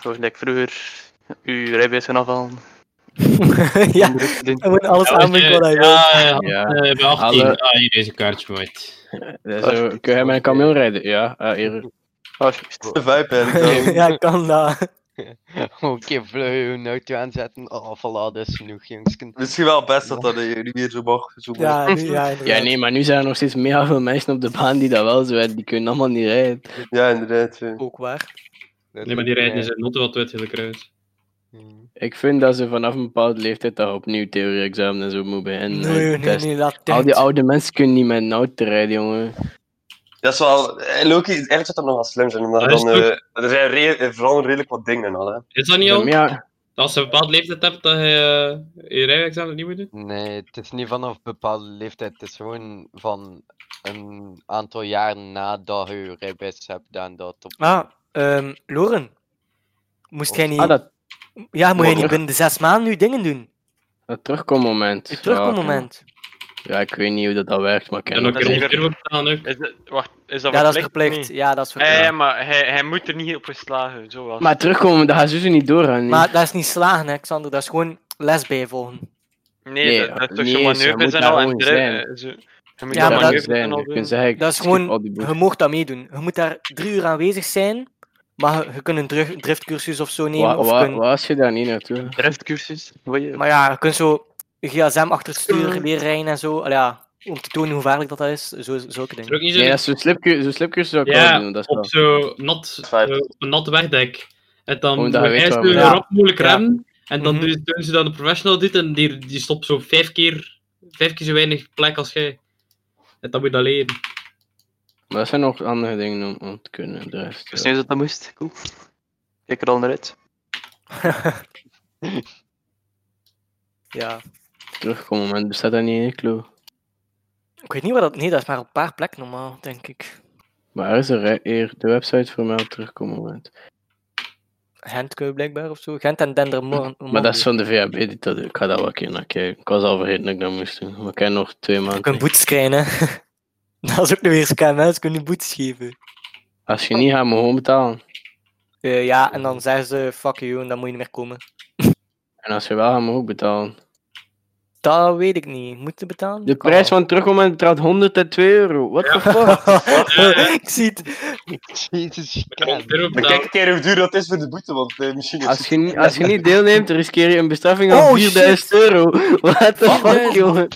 Speaker 1: Zoals ik vroeger uw rijbewijs gaan afhalen.
Speaker 4: ja, hij moet alles
Speaker 8: Ja,
Speaker 4: aanbieden wat hij wil.
Speaker 8: ja, ja,
Speaker 7: Ja.
Speaker 8: eh, bij 18.
Speaker 7: Alle-
Speaker 8: Ah, hier is een kaartje, maat.
Speaker 7: Dat is zo, kun jij mijn kameel rijden? Ja, eh, hier.
Speaker 1: Alsjeblieft.
Speaker 6: De vibe heb ik dan.
Speaker 4: ja, kan dat.
Speaker 5: Oké, vlug een auto aanzetten. Oh, voilà, dat is genoeg, jongsken.
Speaker 6: Misschien wel best dat dat eh, nu weer zo mag. Zo ja.
Speaker 4: Ja, nu, ja,
Speaker 7: Ja,
Speaker 4: inderdaad.
Speaker 7: nee, maar nu zijn er nog steeds meer veel mensen op de baan die dat wel zo hebben. Die kunnen allemaal niet rijden.
Speaker 6: ja, inderdaad. ja.
Speaker 4: Ook waar.
Speaker 8: Nee, maar die rijden in zijn noten wat wettelijk uit.
Speaker 7: Ik vind dat ze vanaf een bepaalde leeftijd daar opnieuw theorie-examen en zo moeten beginnen. eh,
Speaker 4: Nee, nee,
Speaker 7: testen.
Speaker 4: nee, laat
Speaker 7: Al die
Speaker 4: dit.
Speaker 7: oude mensen kunnen niet met een auto rijden, jongen.
Speaker 6: Dat is wel... eh, Loki, eigenlijk zou dat nog wel slim zijn, omdat je
Speaker 8: Dat is
Speaker 6: dan... eh, er zijn re- eh, vooral redelijk wat dingen al, hè.
Speaker 8: Is dat niet
Speaker 7: Ja,
Speaker 8: al?
Speaker 7: maar ja,
Speaker 8: Als je een bepaald leeftijd hebt, dat je eh, je rijexamen niet moet doen?
Speaker 5: Nee, het is niet vanaf bepaalde leeftijd. Het is gewoon van een aantal jaar nadat je je rijbewijs hebt gedaan. Dat op...
Speaker 4: Ah, ehm, Loren. Moest jij niet...
Speaker 7: ah, dat, Oh.
Speaker 4: Ja, moet jij niet
Speaker 7: Morgen.
Speaker 4: binnen de zes maanden nu dingen doen?
Speaker 7: dat terugkommoment.
Speaker 4: Je
Speaker 7: Ja,
Speaker 4: terugkommoment.
Speaker 7: oké. Ja, ik weet niet hoe dat, dat werkt, maar ik
Speaker 8: En
Speaker 7: ken
Speaker 8: dan
Speaker 7: dat.
Speaker 8: kun je
Speaker 2: is
Speaker 8: niet
Speaker 2: even-
Speaker 8: meer betalen ook.
Speaker 2: Is dat, wacht, is dat
Speaker 4: Ja, dat is
Speaker 2: verplicht? Eh,
Speaker 4: verplicht.
Speaker 2: Nee.
Speaker 4: Ja, dat is
Speaker 2: Ja,
Speaker 4: verplicht.
Speaker 2: ja, maar hij, hij moet er niet op geslagen. Zo was. het.
Speaker 7: Maar terugkomen, dat gaat sowieso niet doorgaan. niet?
Speaker 4: Maar dat is niet slagen, hè, Xander. Dat is gewoon les bijvolgen.
Speaker 2: nee,
Speaker 7: nee,
Speaker 2: dat, dat is
Speaker 7: nee,
Speaker 2: toch zo'n
Speaker 7: ze moet
Speaker 2: manoeuvres en
Speaker 7: daar
Speaker 2: al. En
Speaker 7: gewoon
Speaker 2: dre- eh, zo. Je moet
Speaker 4: Ja,
Speaker 2: daar
Speaker 4: maar
Speaker 7: dat
Speaker 4: dat-
Speaker 2: manoeuvres
Speaker 7: moet zijn.
Speaker 2: en al
Speaker 7: Je kunt
Speaker 2: doen.
Speaker 7: zeggen,
Speaker 4: Dat is
Speaker 7: skip
Speaker 4: gewoon-
Speaker 7: al die boeken.
Speaker 4: Je mocht dat meedoen. Je moet daar drie uur aanwezig zijn, maar je, je kunt een drif- driftcursus of zo nemen.
Speaker 7: Wa-
Speaker 4: of
Speaker 7: wa-
Speaker 4: kun-
Speaker 7: waar is je daar niet naartoe?
Speaker 1: Driftcursus. Wil je?
Speaker 4: Maar ja, je kunt zo GSM achter het
Speaker 7: Mm.
Speaker 4: stuur leren rijden en zo. Allee, ja, om te tonen hoe gevaarlijk dat, dat is. Zo, zulke
Speaker 8: Is er
Speaker 4: dingen.
Speaker 8: ook niet zo
Speaker 7: Nee, dat is zo'n slipcursus, zo'n slipcursus zou ik
Speaker 8: Ja,
Speaker 7: wel doen. Dat is wel.
Speaker 8: op zo'n nat,
Speaker 6: Feit.
Speaker 8: eh, op een nat wegdek. En dan
Speaker 7: Omdat je weet
Speaker 8: hij
Speaker 7: waar
Speaker 8: sturen
Speaker 4: we- Ja.
Speaker 8: erop moeilijk
Speaker 4: Ja.
Speaker 8: remmen. En dan
Speaker 4: Mhm.
Speaker 8: doen, doen ze dan de professional dit en die, die stopt zo vijf keer, vijf keer zo weinig plek als jij. En dan moet je dat leren.
Speaker 7: Maar dat zijn nog andere dingen om, om te kunnen. De rest,
Speaker 1: Ik wist
Speaker 7: ja.
Speaker 1: niet dat dat moest. Cool. Ik er al naar uit.
Speaker 4: Ja.
Speaker 7: Terugkommoment bestaat daar niet in, Klo.
Speaker 4: Ik weet niet waar dat... Nee, dat is maar op een paar plekken normaal, denk ik.
Speaker 7: Maar er is er hè, eer de website voor mij op terugkommoment.
Speaker 4: Gent kun je blijkbaar of zo. Gent en Dendermonde.
Speaker 7: Maar dat is van de VHB die dat Ik ga daar wel een keer naar kijken. Ik was al vergeten dat ik dat moest doen. Maar ik heb nog twee
Speaker 4: Je kunt
Speaker 7: maanden.
Speaker 4: boetes krijgen, hè. Dat is ook nog weer scam, hè. Ze kunnen je boetes geven.
Speaker 7: Als je niet gaat, moet je gewoon betalen.
Speaker 4: Eh, ja, en dan zeggen ze, fuck you, en dan moet je niet meer komen.
Speaker 7: En als je wel gaat, moet je ook betalen.
Speaker 4: Dat weet ik niet. Moet je betalen?
Speaker 7: De
Speaker 4: Kan
Speaker 7: prijs
Speaker 4: wel.
Speaker 7: van terugkommoment bedraagt 102 euro. What the fuck?
Speaker 4: ik zie het.
Speaker 5: Jezus,
Speaker 8: En
Speaker 5: kan.
Speaker 8: dan
Speaker 6: Maar kijk een keer hoe duur dat is voor de boete, want eh, misschien is
Speaker 7: Als je, niet- als je niet deelneemt, riskeer je een bestraffing van
Speaker 4: Oh,
Speaker 7: 4000 euro. What the fuck, jongen?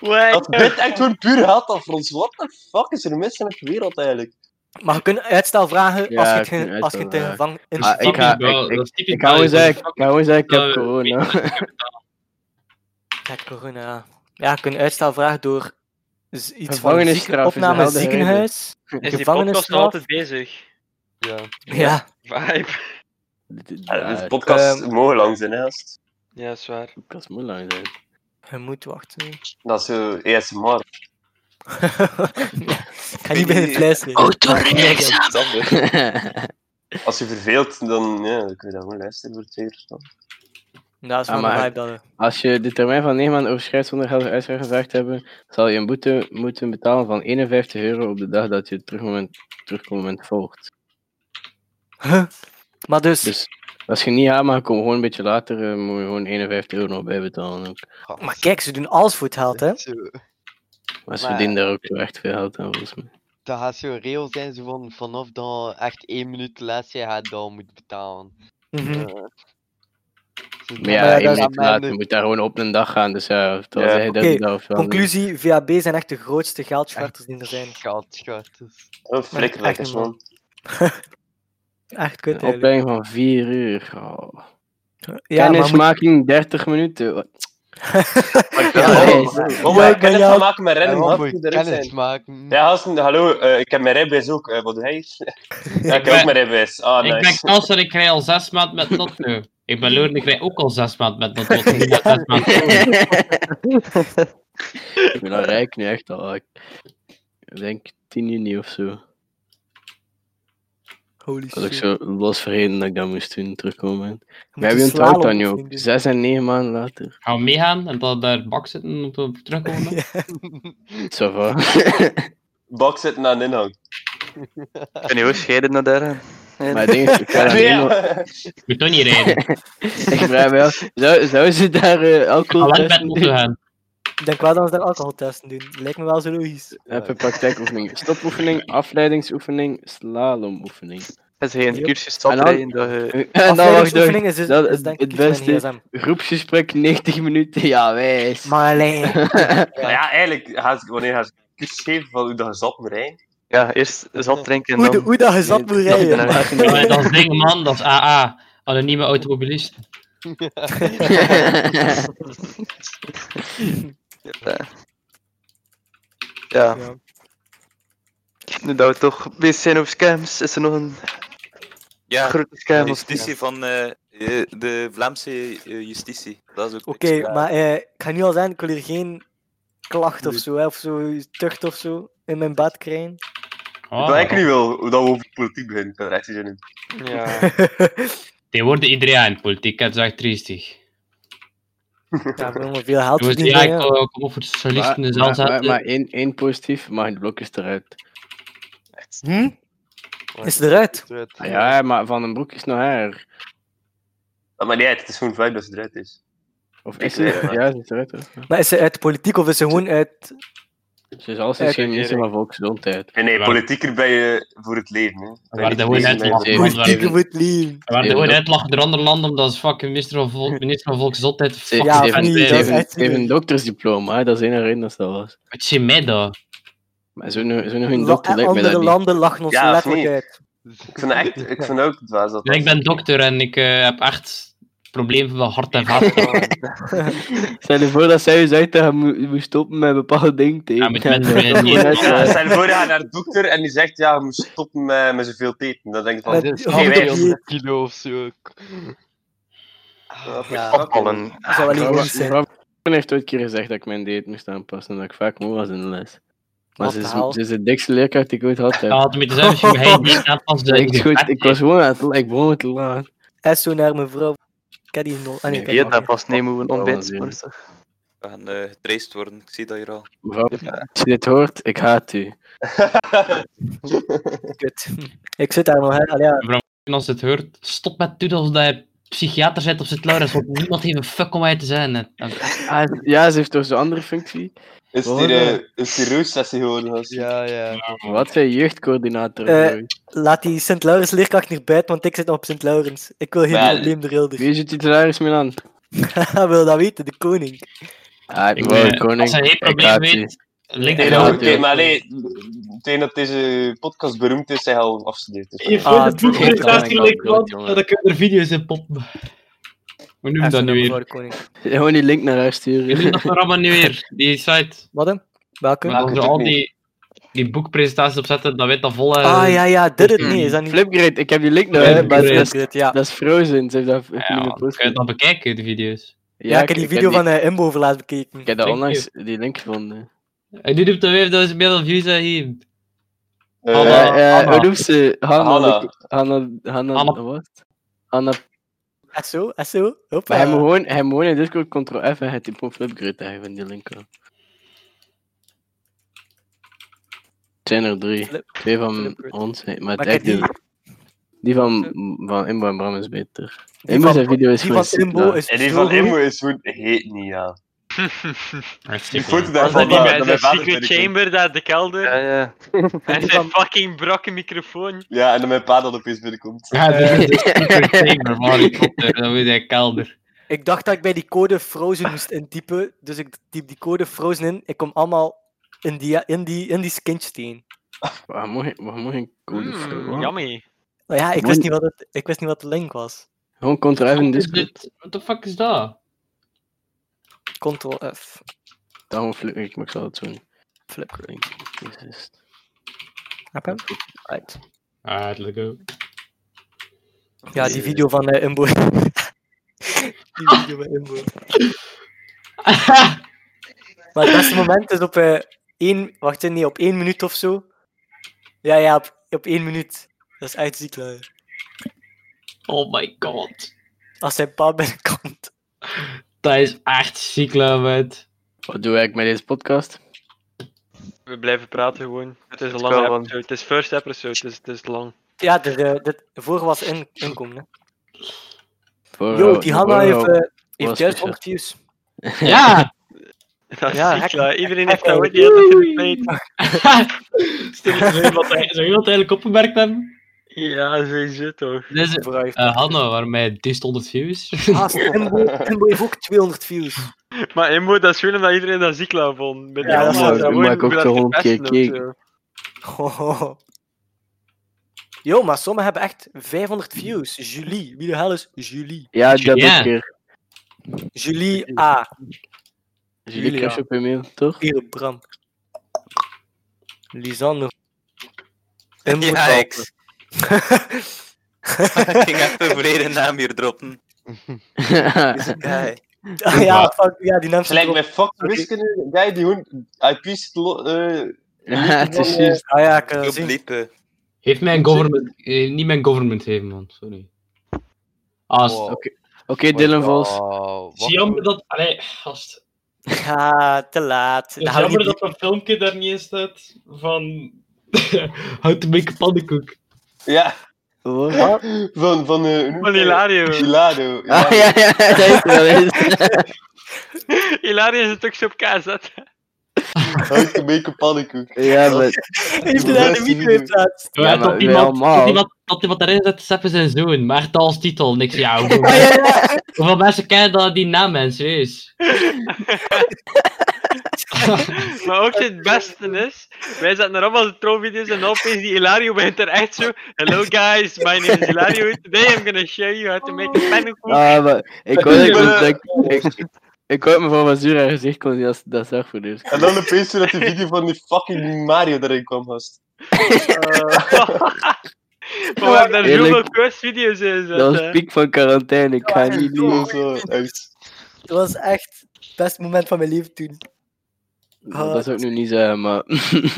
Speaker 6: Dat dit echt gewoon puur haat dat voor ons. What the fuck is er mis in de wereld eigenlijk?
Speaker 4: Maar je kunt uitstel vragen als je het,
Speaker 7: Ja, ik
Speaker 4: ge-
Speaker 7: moet
Speaker 4: als je het in
Speaker 7: uitstel
Speaker 4: gevang... in-
Speaker 7: Ah, ik ga- ik- ik- Ik ga gewoon zeggen, ik ga gewoon zeggen, ik heb corona.
Speaker 4: Kijk, corona. ja. Ja, je kunt uitstel vragen door z- iets van een
Speaker 7: Gevangenisstraf
Speaker 4: zieken,
Speaker 7: is een
Speaker 4: opname
Speaker 7: helder
Speaker 4: ziekenhuis.
Speaker 2: Is die podcast nog
Speaker 4: Gevangenisstraf.
Speaker 2: altijd bezig?
Speaker 5: Ja.
Speaker 4: Ja.
Speaker 2: Vibe.
Speaker 6: Ja,
Speaker 7: Ja,
Speaker 6: deze podcast
Speaker 4: ehm,
Speaker 6: mogen lang zijn, hè. gast.
Speaker 2: Ja, is waar.
Speaker 7: Dat is moeilijk lang zijn.
Speaker 4: Je moet wachten.
Speaker 6: Dat is zo ASMR.
Speaker 4: Ja, Ik ga niet bij de fles liggen.
Speaker 6: Dat is het. Als je verveelt, dan, ja, dan kun je dat gewoon luisteren voor twee uur.
Speaker 4: Dat is
Speaker 7: Ah,
Speaker 4: wel een
Speaker 7: maar-
Speaker 4: vibe dat... we-
Speaker 7: Als je de termijn van 9 maanden overschrijdt zonder geld uitspraak gevraagd te hebben, zal je een boete moeten betalen van 51 euro op de dag dat je het terugmoment, terugkommoment volgt.
Speaker 4: Huh? Maar dus...
Speaker 7: Dus als je niet aan mag komen, gewoon een beetje later, eh, moet je gewoon 51 euro nog bij betalen. Ook.
Speaker 4: eh, Maar kijk, ze doen alles voor het geld, hè.
Speaker 5: Zo,
Speaker 7: Maar ze
Speaker 5: Maar-
Speaker 7: verdienen daar ook wel echt veel geld aan, volgens mij.
Speaker 5: dat gaat zo reëel zijn, zo van vanaf dan echt één minuut les je gaat dan moet betalen.
Speaker 4: Mhm.
Speaker 7: Maar
Speaker 4: Maar ja,
Speaker 7: ja, één
Speaker 4: dat is
Speaker 7: minuut later, je moet daar gewoon op een dag gaan, dus ja, of dat
Speaker 6: Ja.
Speaker 7: zeg je dat
Speaker 4: Oké,
Speaker 7: je dat of wel doet.
Speaker 4: Conclusie, VAB zijn echt de grootste geldverters die er zijn.
Speaker 5: Goudscharters.
Speaker 6: Een flikkerlekkers,
Speaker 4: echt niet,
Speaker 6: Oh, man.
Speaker 4: Echt
Speaker 7: Een
Speaker 4: kut eigenlijk.
Speaker 7: opleiding van 4 uur. Oh.
Speaker 4: Ja, maar moet-
Speaker 7: Kennismaking 30 minuten. Wat-
Speaker 6: Maar ik-
Speaker 7: Ja,
Speaker 6: Ja,
Speaker 7: nee,
Speaker 6: oh,
Speaker 7: nee.
Speaker 6: Oh,
Speaker 4: Ja,
Speaker 6: maar ik
Speaker 4: ben
Speaker 6: kan
Speaker 4: jou-
Speaker 6: het maken met
Speaker 5: En
Speaker 6: random
Speaker 5: dan
Speaker 6: hap,
Speaker 5: moet je
Speaker 6: moet erin
Speaker 5: kennis
Speaker 6: zijn.
Speaker 5: maken.
Speaker 6: Ja, gasten, hallo, eh, ik heb mijn rijbewijs ook. eh, wat doe jij? ja, ik heb
Speaker 8: ben-
Speaker 6: ook mijn rijbewijs. Ah,
Speaker 8: Ik ben
Speaker 6: nice.
Speaker 8: Kals en ik rij al zes maanden met not nu. Ik ben Loren, ik rij ook al zes maanden met dat tot zes maanden.
Speaker 7: Ik ben al rijk nu echt al. Ik ik denk 10 juni of zo.
Speaker 4: Holy
Speaker 7: Dat ik
Speaker 4: shit.
Speaker 7: zo los vergeten dat ik dat moest doen, terugkomen.
Speaker 4: moet
Speaker 7: We hebben
Speaker 4: een
Speaker 7: een touw dan,
Speaker 4: slalom
Speaker 7: joh.
Speaker 4: doen.
Speaker 7: Zes en negen maanden later.
Speaker 8: Gaan we meegaan en dan daar bak zitten en op- op terugkomen? dan?
Speaker 7: Ça va.
Speaker 6: Bak zitten aan inhoud.
Speaker 1: En joh, scheiden naar daar.
Speaker 7: Maar ik denk, ik ga dat niet nog-
Speaker 8: Ik moet toch niet rijden.
Speaker 7: Ik vraag me af, zou, zou ze daar eh, alcohol
Speaker 8: Alleen met
Speaker 7: testen
Speaker 8: moeten
Speaker 7: doen?
Speaker 8: gaan.
Speaker 4: Ik denk wel dat we daar alcoholtesten doen. Lijkt me wel zo logisch.
Speaker 7: Even praktijkoefening. Stopoefening, afleidingsoefening, slalomoefening.
Speaker 1: Het is geen
Speaker 4: Yep.
Speaker 1: cursus
Speaker 7: En dan-
Speaker 1: stappen dat je...
Speaker 7: En dan wacht door.
Speaker 4: Afleidingsoefening is, dus,
Speaker 7: dat-
Speaker 4: is denk
Speaker 7: het
Speaker 4: ik iets met
Speaker 7: beste-
Speaker 4: GSM.
Speaker 7: Groepsgesprek 90 minuten, ja wijs.
Speaker 4: Maar alleen.
Speaker 6: Ja, ja eigenlijk, ga ik- wanneer ga ik geven van hoe dat je zat moet rijden?
Speaker 1: Ja, eerst zat drinken en
Speaker 4: Hoe, de,
Speaker 1: dan...
Speaker 4: hoe dat je zat moet rijden.
Speaker 1: dan-
Speaker 4: maar-
Speaker 8: Maar Dat is ding, man, dat is AA. Anonieme automobilist.
Speaker 1: Ja.
Speaker 4: Ja.
Speaker 1: Nu dat we toch bezig zijn over scams, is er nog een
Speaker 3: Ja,
Speaker 1: grote
Speaker 3: de
Speaker 1: scam of
Speaker 3: justitie van eh, eh, de Vlaamse eh, justitie. Dat is ook
Speaker 4: Oké,
Speaker 3: niks raar.
Speaker 4: maar eh, ik ga nu al zeggen, ik wil hier geen klacht of zo, hè, of zo, tucht of zo, in mijn bed krijgen.
Speaker 8: Oh,
Speaker 6: Dat ik nu wil, hoe dat we over politiek beginnen. Ik ben er echt geen zin in.
Speaker 2: Ja.
Speaker 8: Die worden iedereen aan in de politiek, hè, dat is echt triestig.
Speaker 4: ja, we moeten veel geld
Speaker 8: Jongens,
Speaker 4: verdienen. hè,
Speaker 8: ja, ik
Speaker 4: ja.
Speaker 8: kom kom op voor de
Speaker 7: Maar,
Speaker 8: socialisten in de zaal
Speaker 7: maar, maar,
Speaker 8: zetten.
Speaker 7: maar één, één positief, maar de blok is eruit.
Speaker 4: Hm? Is het eruit?
Speaker 7: Ah, ja, maar Van den Broek is nog haar.
Speaker 6: Ah, Maar nee, het is gewoon fijn dat ze eruit is.
Speaker 7: Of is ze? Ja, ze is eruit. hoor.
Speaker 4: Maar is ze uit de politiek of is ze gewoon uit...
Speaker 7: Ze is alles
Speaker 4: Ja,
Speaker 7: geen minister
Speaker 2: regering.
Speaker 7: van Volksgezondheid.
Speaker 6: En nee,
Speaker 8: Ja.
Speaker 6: politieker ben je voor het leven. Hè. Ben
Speaker 8: Waar
Speaker 6: je
Speaker 8: de
Speaker 6: voor het
Speaker 8: woorden
Speaker 6: leven.
Speaker 8: uitlachen.
Speaker 7: Zeven.
Speaker 8: Waar-
Speaker 4: Politieke moet leven.
Speaker 8: We waren
Speaker 7: Ja,
Speaker 8: gewoon
Speaker 7: dat-
Speaker 8: uitlachen door andere landen omdat ze fucking minister van, Vol minister van Volksgezondheid.
Speaker 7: Ze,
Speaker 8: Fuck,
Speaker 4: Ja,
Speaker 7: ze
Speaker 4: of
Speaker 7: heeft,
Speaker 4: niet,
Speaker 7: ze
Speaker 4: dat is
Speaker 7: heeft-
Speaker 4: echt
Speaker 7: ze heeft een
Speaker 4: niet.
Speaker 7: doktersdiploma, hè, dat is één reden dat ze dat was.
Speaker 8: Wat zie je mij daar?
Speaker 7: Maar zo nog zo nog een
Speaker 4: La-
Speaker 7: dokter lijkt me dat
Speaker 4: andere
Speaker 7: niet.
Speaker 4: landen lachen ons
Speaker 6: Ja, of
Speaker 4: letterlijk
Speaker 6: niet?
Speaker 4: uit.
Speaker 6: Ik vind, dat echt, ik vind ook dwaas dat
Speaker 8: Ja, ik ben dokter en ik eh, heb echt problemen van hart en vaten.
Speaker 7: Stel je voor dat zij je zegt dat je moe- moet stoppen met bepaalde dingen te
Speaker 8: Ja,
Speaker 7: eten.
Speaker 8: met mensen die niet-
Speaker 7: Ja,
Speaker 6: Ja,
Speaker 7: ja.
Speaker 6: stel je Eh, voor, je gaat naar de dokter en die zegt, ja, je moet stoppen met, met zoveel teten. Dan denk ik van,
Speaker 4: Met-
Speaker 5: Dit is
Speaker 4: Oh, nee.
Speaker 5: 200 kilo of zo.
Speaker 6: ah,
Speaker 4: Ja.
Speaker 1: afvallen.
Speaker 4: Dat zou wel
Speaker 7: Mevrouw-
Speaker 4: ironisch zijn.
Speaker 7: mevrouw Van heeft ooit een keer gezegd dat ik mijn dieet moest aanpassen, dat ik vaak moe was in de les. Maar
Speaker 4: Wat
Speaker 7: ze
Speaker 4: de
Speaker 7: is,
Speaker 4: hel?
Speaker 7: ze is de dikste leerkracht die ik ooit had. hè.
Speaker 8: Dat had me te zijn als je me hij niet aanpast.
Speaker 7: Dat
Speaker 8: dan
Speaker 7: ik,
Speaker 8: is
Speaker 7: goed,
Speaker 8: het
Speaker 7: ik was gewoon aan het, ik begon het te laat.
Speaker 4: En zo naar mevrouw. Ik ken die nog. Ah, nee,
Speaker 7: Nee,
Speaker 4: ik
Speaker 1: Je
Speaker 4: ken die
Speaker 1: dat
Speaker 4: nog
Speaker 1: pas nemen hoe een
Speaker 7: Oh,
Speaker 1: ontbijt
Speaker 7: zin.
Speaker 1: is, toch?
Speaker 3: We gaan eh getraced worden, ik zie dat hier al.
Speaker 7: Mevrouw, als je dit hoort, ik haat u.
Speaker 4: niet. Kut. Ik zit daar nog, hè. Allee, ja.
Speaker 8: En als het hoort, stop met doen alsof dat je psychiater bent of zit Laurens, want niemand heeft een fuck om mij te zijn. hè. En-
Speaker 7: Ah, ze- ja, ze heeft toch zo'n andere functie.
Speaker 6: Is
Speaker 7: Wat
Speaker 6: die,
Speaker 7: was dat?
Speaker 6: eh, is die roossessie gewoon? gast?
Speaker 5: Ja, ja.
Speaker 7: Wat zijn jeugdcoördinator?
Speaker 4: Eh,
Speaker 7: Roy?
Speaker 4: Laat die Sint-Laurens leerkracht niet buiten, want ik zit nog op Sint-Laurens. Ik wil geen
Speaker 6: Maar-
Speaker 4: probleem
Speaker 7: Wie
Speaker 4: eronder.
Speaker 7: is je titularis, Milan?
Speaker 4: wil dat weten, de koning.
Speaker 7: Ah, ik
Speaker 8: Ik
Speaker 7: wou
Speaker 8: ben-
Speaker 7: de koning.
Speaker 8: Als hij geen
Speaker 7: Ik
Speaker 8: probleem
Speaker 7: haat
Speaker 8: weet, link
Speaker 6: Nee,
Speaker 7: Ja,
Speaker 8: het
Speaker 6: nou,
Speaker 8: wel.
Speaker 6: oké,
Speaker 7: natuurlijk.
Speaker 6: maar nee, meteen dat deze podcast beroemd is, zijn al afgestudeerd. Dus.
Speaker 8: Je
Speaker 4: Ah, het
Speaker 7: boek heeft wel een groot, jongen.
Speaker 8: en dan kunnen er video's in poppen. Hoe noem je dat
Speaker 4: Even
Speaker 8: nu
Speaker 4: een
Speaker 8: weer?
Speaker 4: mevrouw de koning.
Speaker 7: u. Gewoon die link naar haar
Speaker 8: Hoe noem je
Speaker 7: sturen.
Speaker 8: dat programma nu weer? Die site.
Speaker 4: Wat hem? Welke?
Speaker 8: Maar als
Speaker 6: het
Speaker 8: we
Speaker 6: ook
Speaker 8: al
Speaker 6: niet.
Speaker 8: die, die boekpresentaties opzetten, dan weet dat volle.
Speaker 4: Ah ja, ja, dit het niet, is dat niet?
Speaker 7: Flipgrid, ik heb die link nog. hè,
Speaker 8: Flipgrid.
Speaker 7: maar dat is,
Speaker 4: Flipgrid, ja.
Speaker 7: dat is Frozen. Ze heeft dat heeft die
Speaker 8: Ja,
Speaker 7: in de
Speaker 8: dan
Speaker 7: post
Speaker 8: kun je dat bekijken, de video's.
Speaker 7: gezet.
Speaker 4: Ja, ik heb die video van eh, Imbo voor laatst bekeken.
Speaker 7: Ik heb dat
Speaker 8: Thank
Speaker 7: onlangs die link gevonden.
Speaker 8: En nu doet dat weer dat ze meer dan views zijn hier.
Speaker 6: Eh,
Speaker 8: Hanna.
Speaker 7: Eh, eh,
Speaker 8: Hanna.
Speaker 7: Hoe noemt ze? Hanna.
Speaker 6: Hanna.
Speaker 7: de- Hanna. Hanna.
Speaker 8: Hanna.
Speaker 7: Wat? Hanna.
Speaker 4: En zo, en zo. Hoppa.
Speaker 7: Maar hij moet gewoon- hij moet gewoon in Discord Ctrl F en hij typt gewoon Flipgrid eigenlijk in die link. aan. Het zijn er drie.
Speaker 4: Flip-
Speaker 7: Twee van
Speaker 4: Flipgrid.
Speaker 7: ons. nee, Maar het
Speaker 4: Maar kijk,
Speaker 7: lijkt
Speaker 4: die,
Speaker 7: die, die van, van Imbo en Bram is beter.
Speaker 4: die
Speaker 7: Imbo
Speaker 4: van,
Speaker 7: zijn video is
Speaker 4: die
Speaker 7: gewoon
Speaker 4: van
Speaker 7: ziek
Speaker 4: Imbo
Speaker 7: laag.
Speaker 4: is
Speaker 6: en die
Speaker 4: zo
Speaker 6: van
Speaker 4: goed.
Speaker 6: Immo is gewoon heet niet, ja. Die foto
Speaker 8: Hartstikke.
Speaker 2: Was
Speaker 6: daarvan,
Speaker 2: dat die
Speaker 6: dat-
Speaker 2: bij zijn
Speaker 6: dat mijn vader
Speaker 2: secret
Speaker 6: binnenkwam.
Speaker 2: chamber daar de
Speaker 1: Ja,
Speaker 2: kelder?
Speaker 1: ja.
Speaker 2: En
Speaker 4: die
Speaker 2: zijn
Speaker 4: van-
Speaker 2: fucking brakke microfoon.
Speaker 6: Ja, en dan mijn pa dat opeens binnenkomt.
Speaker 8: Ja, dat is de secret chamber van Harry Potter, dat moet hij kelder.
Speaker 4: Ik dacht dat ik bij die code Frozen moest intypen, dus ik typ die code Frozen in. Ik kom allemaal in die, in die, in die skintjes tegen.
Speaker 7: Waar moet ik- waar moet ik code
Speaker 8: Hmm,
Speaker 7: voor?
Speaker 2: Mm, yummy.
Speaker 4: Maar ja, ik
Speaker 7: Mooi.
Speaker 4: wist, niet wat het, ik wist niet wat de link was.
Speaker 7: Gewoon Ctrl F in Discord.
Speaker 8: Dit- What the fuck is dat?
Speaker 4: Ctrl F.
Speaker 7: Daarom Flipgrid, maar ik zal het zo doen.
Speaker 4: Flipgrid.
Speaker 7: Link. Dit is-
Speaker 4: Snap je? Right.
Speaker 8: Ah, let's go.
Speaker 4: Ja, die video van eh, Imbo. die video met Imbo. maar het beste moment is op eh één, wacht nee, op één minuut of zo. Ja, ja, op, op één minuut. Dat is echt ziek, lui.
Speaker 8: Oh my god.
Speaker 4: Als zijn pa binnenkomt.
Speaker 8: Dat is echt ziek, Lambert.
Speaker 7: Wat doe ik met deze podcast?
Speaker 2: We blijven praten gewoon. Het is een
Speaker 1: is
Speaker 2: lange
Speaker 1: wel een-
Speaker 2: episode. Het is first episode, dus het is lang.
Speaker 4: Ja, de, de, de, vorige was in, inkomen, hè.
Speaker 7: Voor,
Speaker 4: Yo, die Hanna
Speaker 7: Oh, voor-
Speaker 4: heeft, eh
Speaker 7: speciaal.
Speaker 4: heeft juist 100 views.
Speaker 8: Ja!
Speaker 2: Dat is
Speaker 4: Ja,
Speaker 2: ziek,
Speaker 4: hacken.
Speaker 2: ja. Iedereen heeft
Speaker 4: Hacken.
Speaker 2: dat ooit die had het in de plate.
Speaker 8: Stel je voor, wat hij- Zou iemand eigenlijk opgemerkt hebben?
Speaker 2: Ja, sowieso toch.
Speaker 8: Dit is
Speaker 4: Vooruit.
Speaker 8: eh, Hanna, waarmee dist 100 views.
Speaker 4: Ah, Timbo, Timbo heeft ook 200 views.
Speaker 2: Maar Imbo, dat is gewoon omdat iedereen dat ziek laat vond. Met die
Speaker 4: Ja, dat is
Speaker 2: allemaal
Speaker 4: waar.
Speaker 2: gewoon
Speaker 7: Maar ik ook
Speaker 2: hoe dat
Speaker 7: zo honderd keer
Speaker 2: verpesten of
Speaker 7: keek.
Speaker 2: zo.
Speaker 4: Hohoho. Yo, maar sommigen hebben echt 500 views. Julie, wie de hel is Julie?
Speaker 7: Ja, dat
Speaker 8: Ja.
Speaker 7: ook weer.
Speaker 4: Julie A.
Speaker 7: Jullie
Speaker 4: Julia.
Speaker 7: crush op je mail, toch?
Speaker 4: Hier, Bram. Lisanne. Timbo
Speaker 3: Ja,
Speaker 4: Talker.
Speaker 3: ik... ik ging even verleden naam hier droppen. Ja,
Speaker 4: Ah, ja, fuck, ja, die naam
Speaker 6: Het lijkt
Speaker 4: erop.
Speaker 6: mij fucking wiskunde. Jij die gewoon IP's lo- eh,
Speaker 7: het is juist.
Speaker 4: Ah ja, ik kan dat
Speaker 3: op
Speaker 4: zien.
Speaker 3: liepen.
Speaker 8: Heeft mijn government... eh, niet mijn government geven, man. Sorry. Ah, is-
Speaker 5: Wow.
Speaker 7: Oké, Dylan Vos.
Speaker 5: Oh,
Speaker 8: Het is jammer dat... Allee, gast.
Speaker 4: Ja, Ah, te laat.
Speaker 8: Het is
Speaker 4: Dan gaan we
Speaker 8: jammer
Speaker 4: niet-
Speaker 8: dat dat filmpje daar niet in staat van... How to make a pannenkoek.
Speaker 6: Ja,
Speaker 7: Wat?
Speaker 6: van... van eh, hoe noemt
Speaker 2: Van
Speaker 6: hij?
Speaker 2: Hilario.
Speaker 6: Hilario.
Speaker 7: Ah ja, ja, dat is wel eens.
Speaker 2: Hilario zit ook zo op KZ.
Speaker 6: How to make a pannenkoek.
Speaker 7: Ja, maar
Speaker 4: Heeft hij daar de micro in plaats?
Speaker 8: Ja,
Speaker 7: maar
Speaker 8: dat,
Speaker 7: wij
Speaker 8: iemand,
Speaker 7: allemaal.
Speaker 8: dat, iemand, dat iemand daarin zet, Sepp is zijn zoon. Maar het als titel, niks. Ja, hoeveel, hoeveel mensen kennen dat, die naam, mensen? serieus?
Speaker 2: Maar ook het beste is, wij zaten er allemaal troonvideo's en dan opeens die Hilario begint er echt zo. Hello guys, my name is Hilario. Today I'm gonna show you how to make a pannenkoek.
Speaker 7: Ah, maar ik hoorde ik, ik, ik, ik hoorde me van mijn zuur haar gezicht kon zien als dat zag voor de eerste
Speaker 6: En dan opeens toen dat die video van die fucking Mario erin kwam, gast.
Speaker 2: maar we hebben daar
Speaker 7: Eerlijk.
Speaker 2: zoveel questvideo's in
Speaker 7: keer. Dat was
Speaker 2: zitten.
Speaker 7: piek van quarantaine, ik ga niet
Speaker 6: Zo,
Speaker 7: liegen.
Speaker 6: zo, echt.
Speaker 4: Dat was echt het beste moment van mijn leven toen.
Speaker 7: Dat zou ik nu niet zeggen, maar...
Speaker 4: Ah,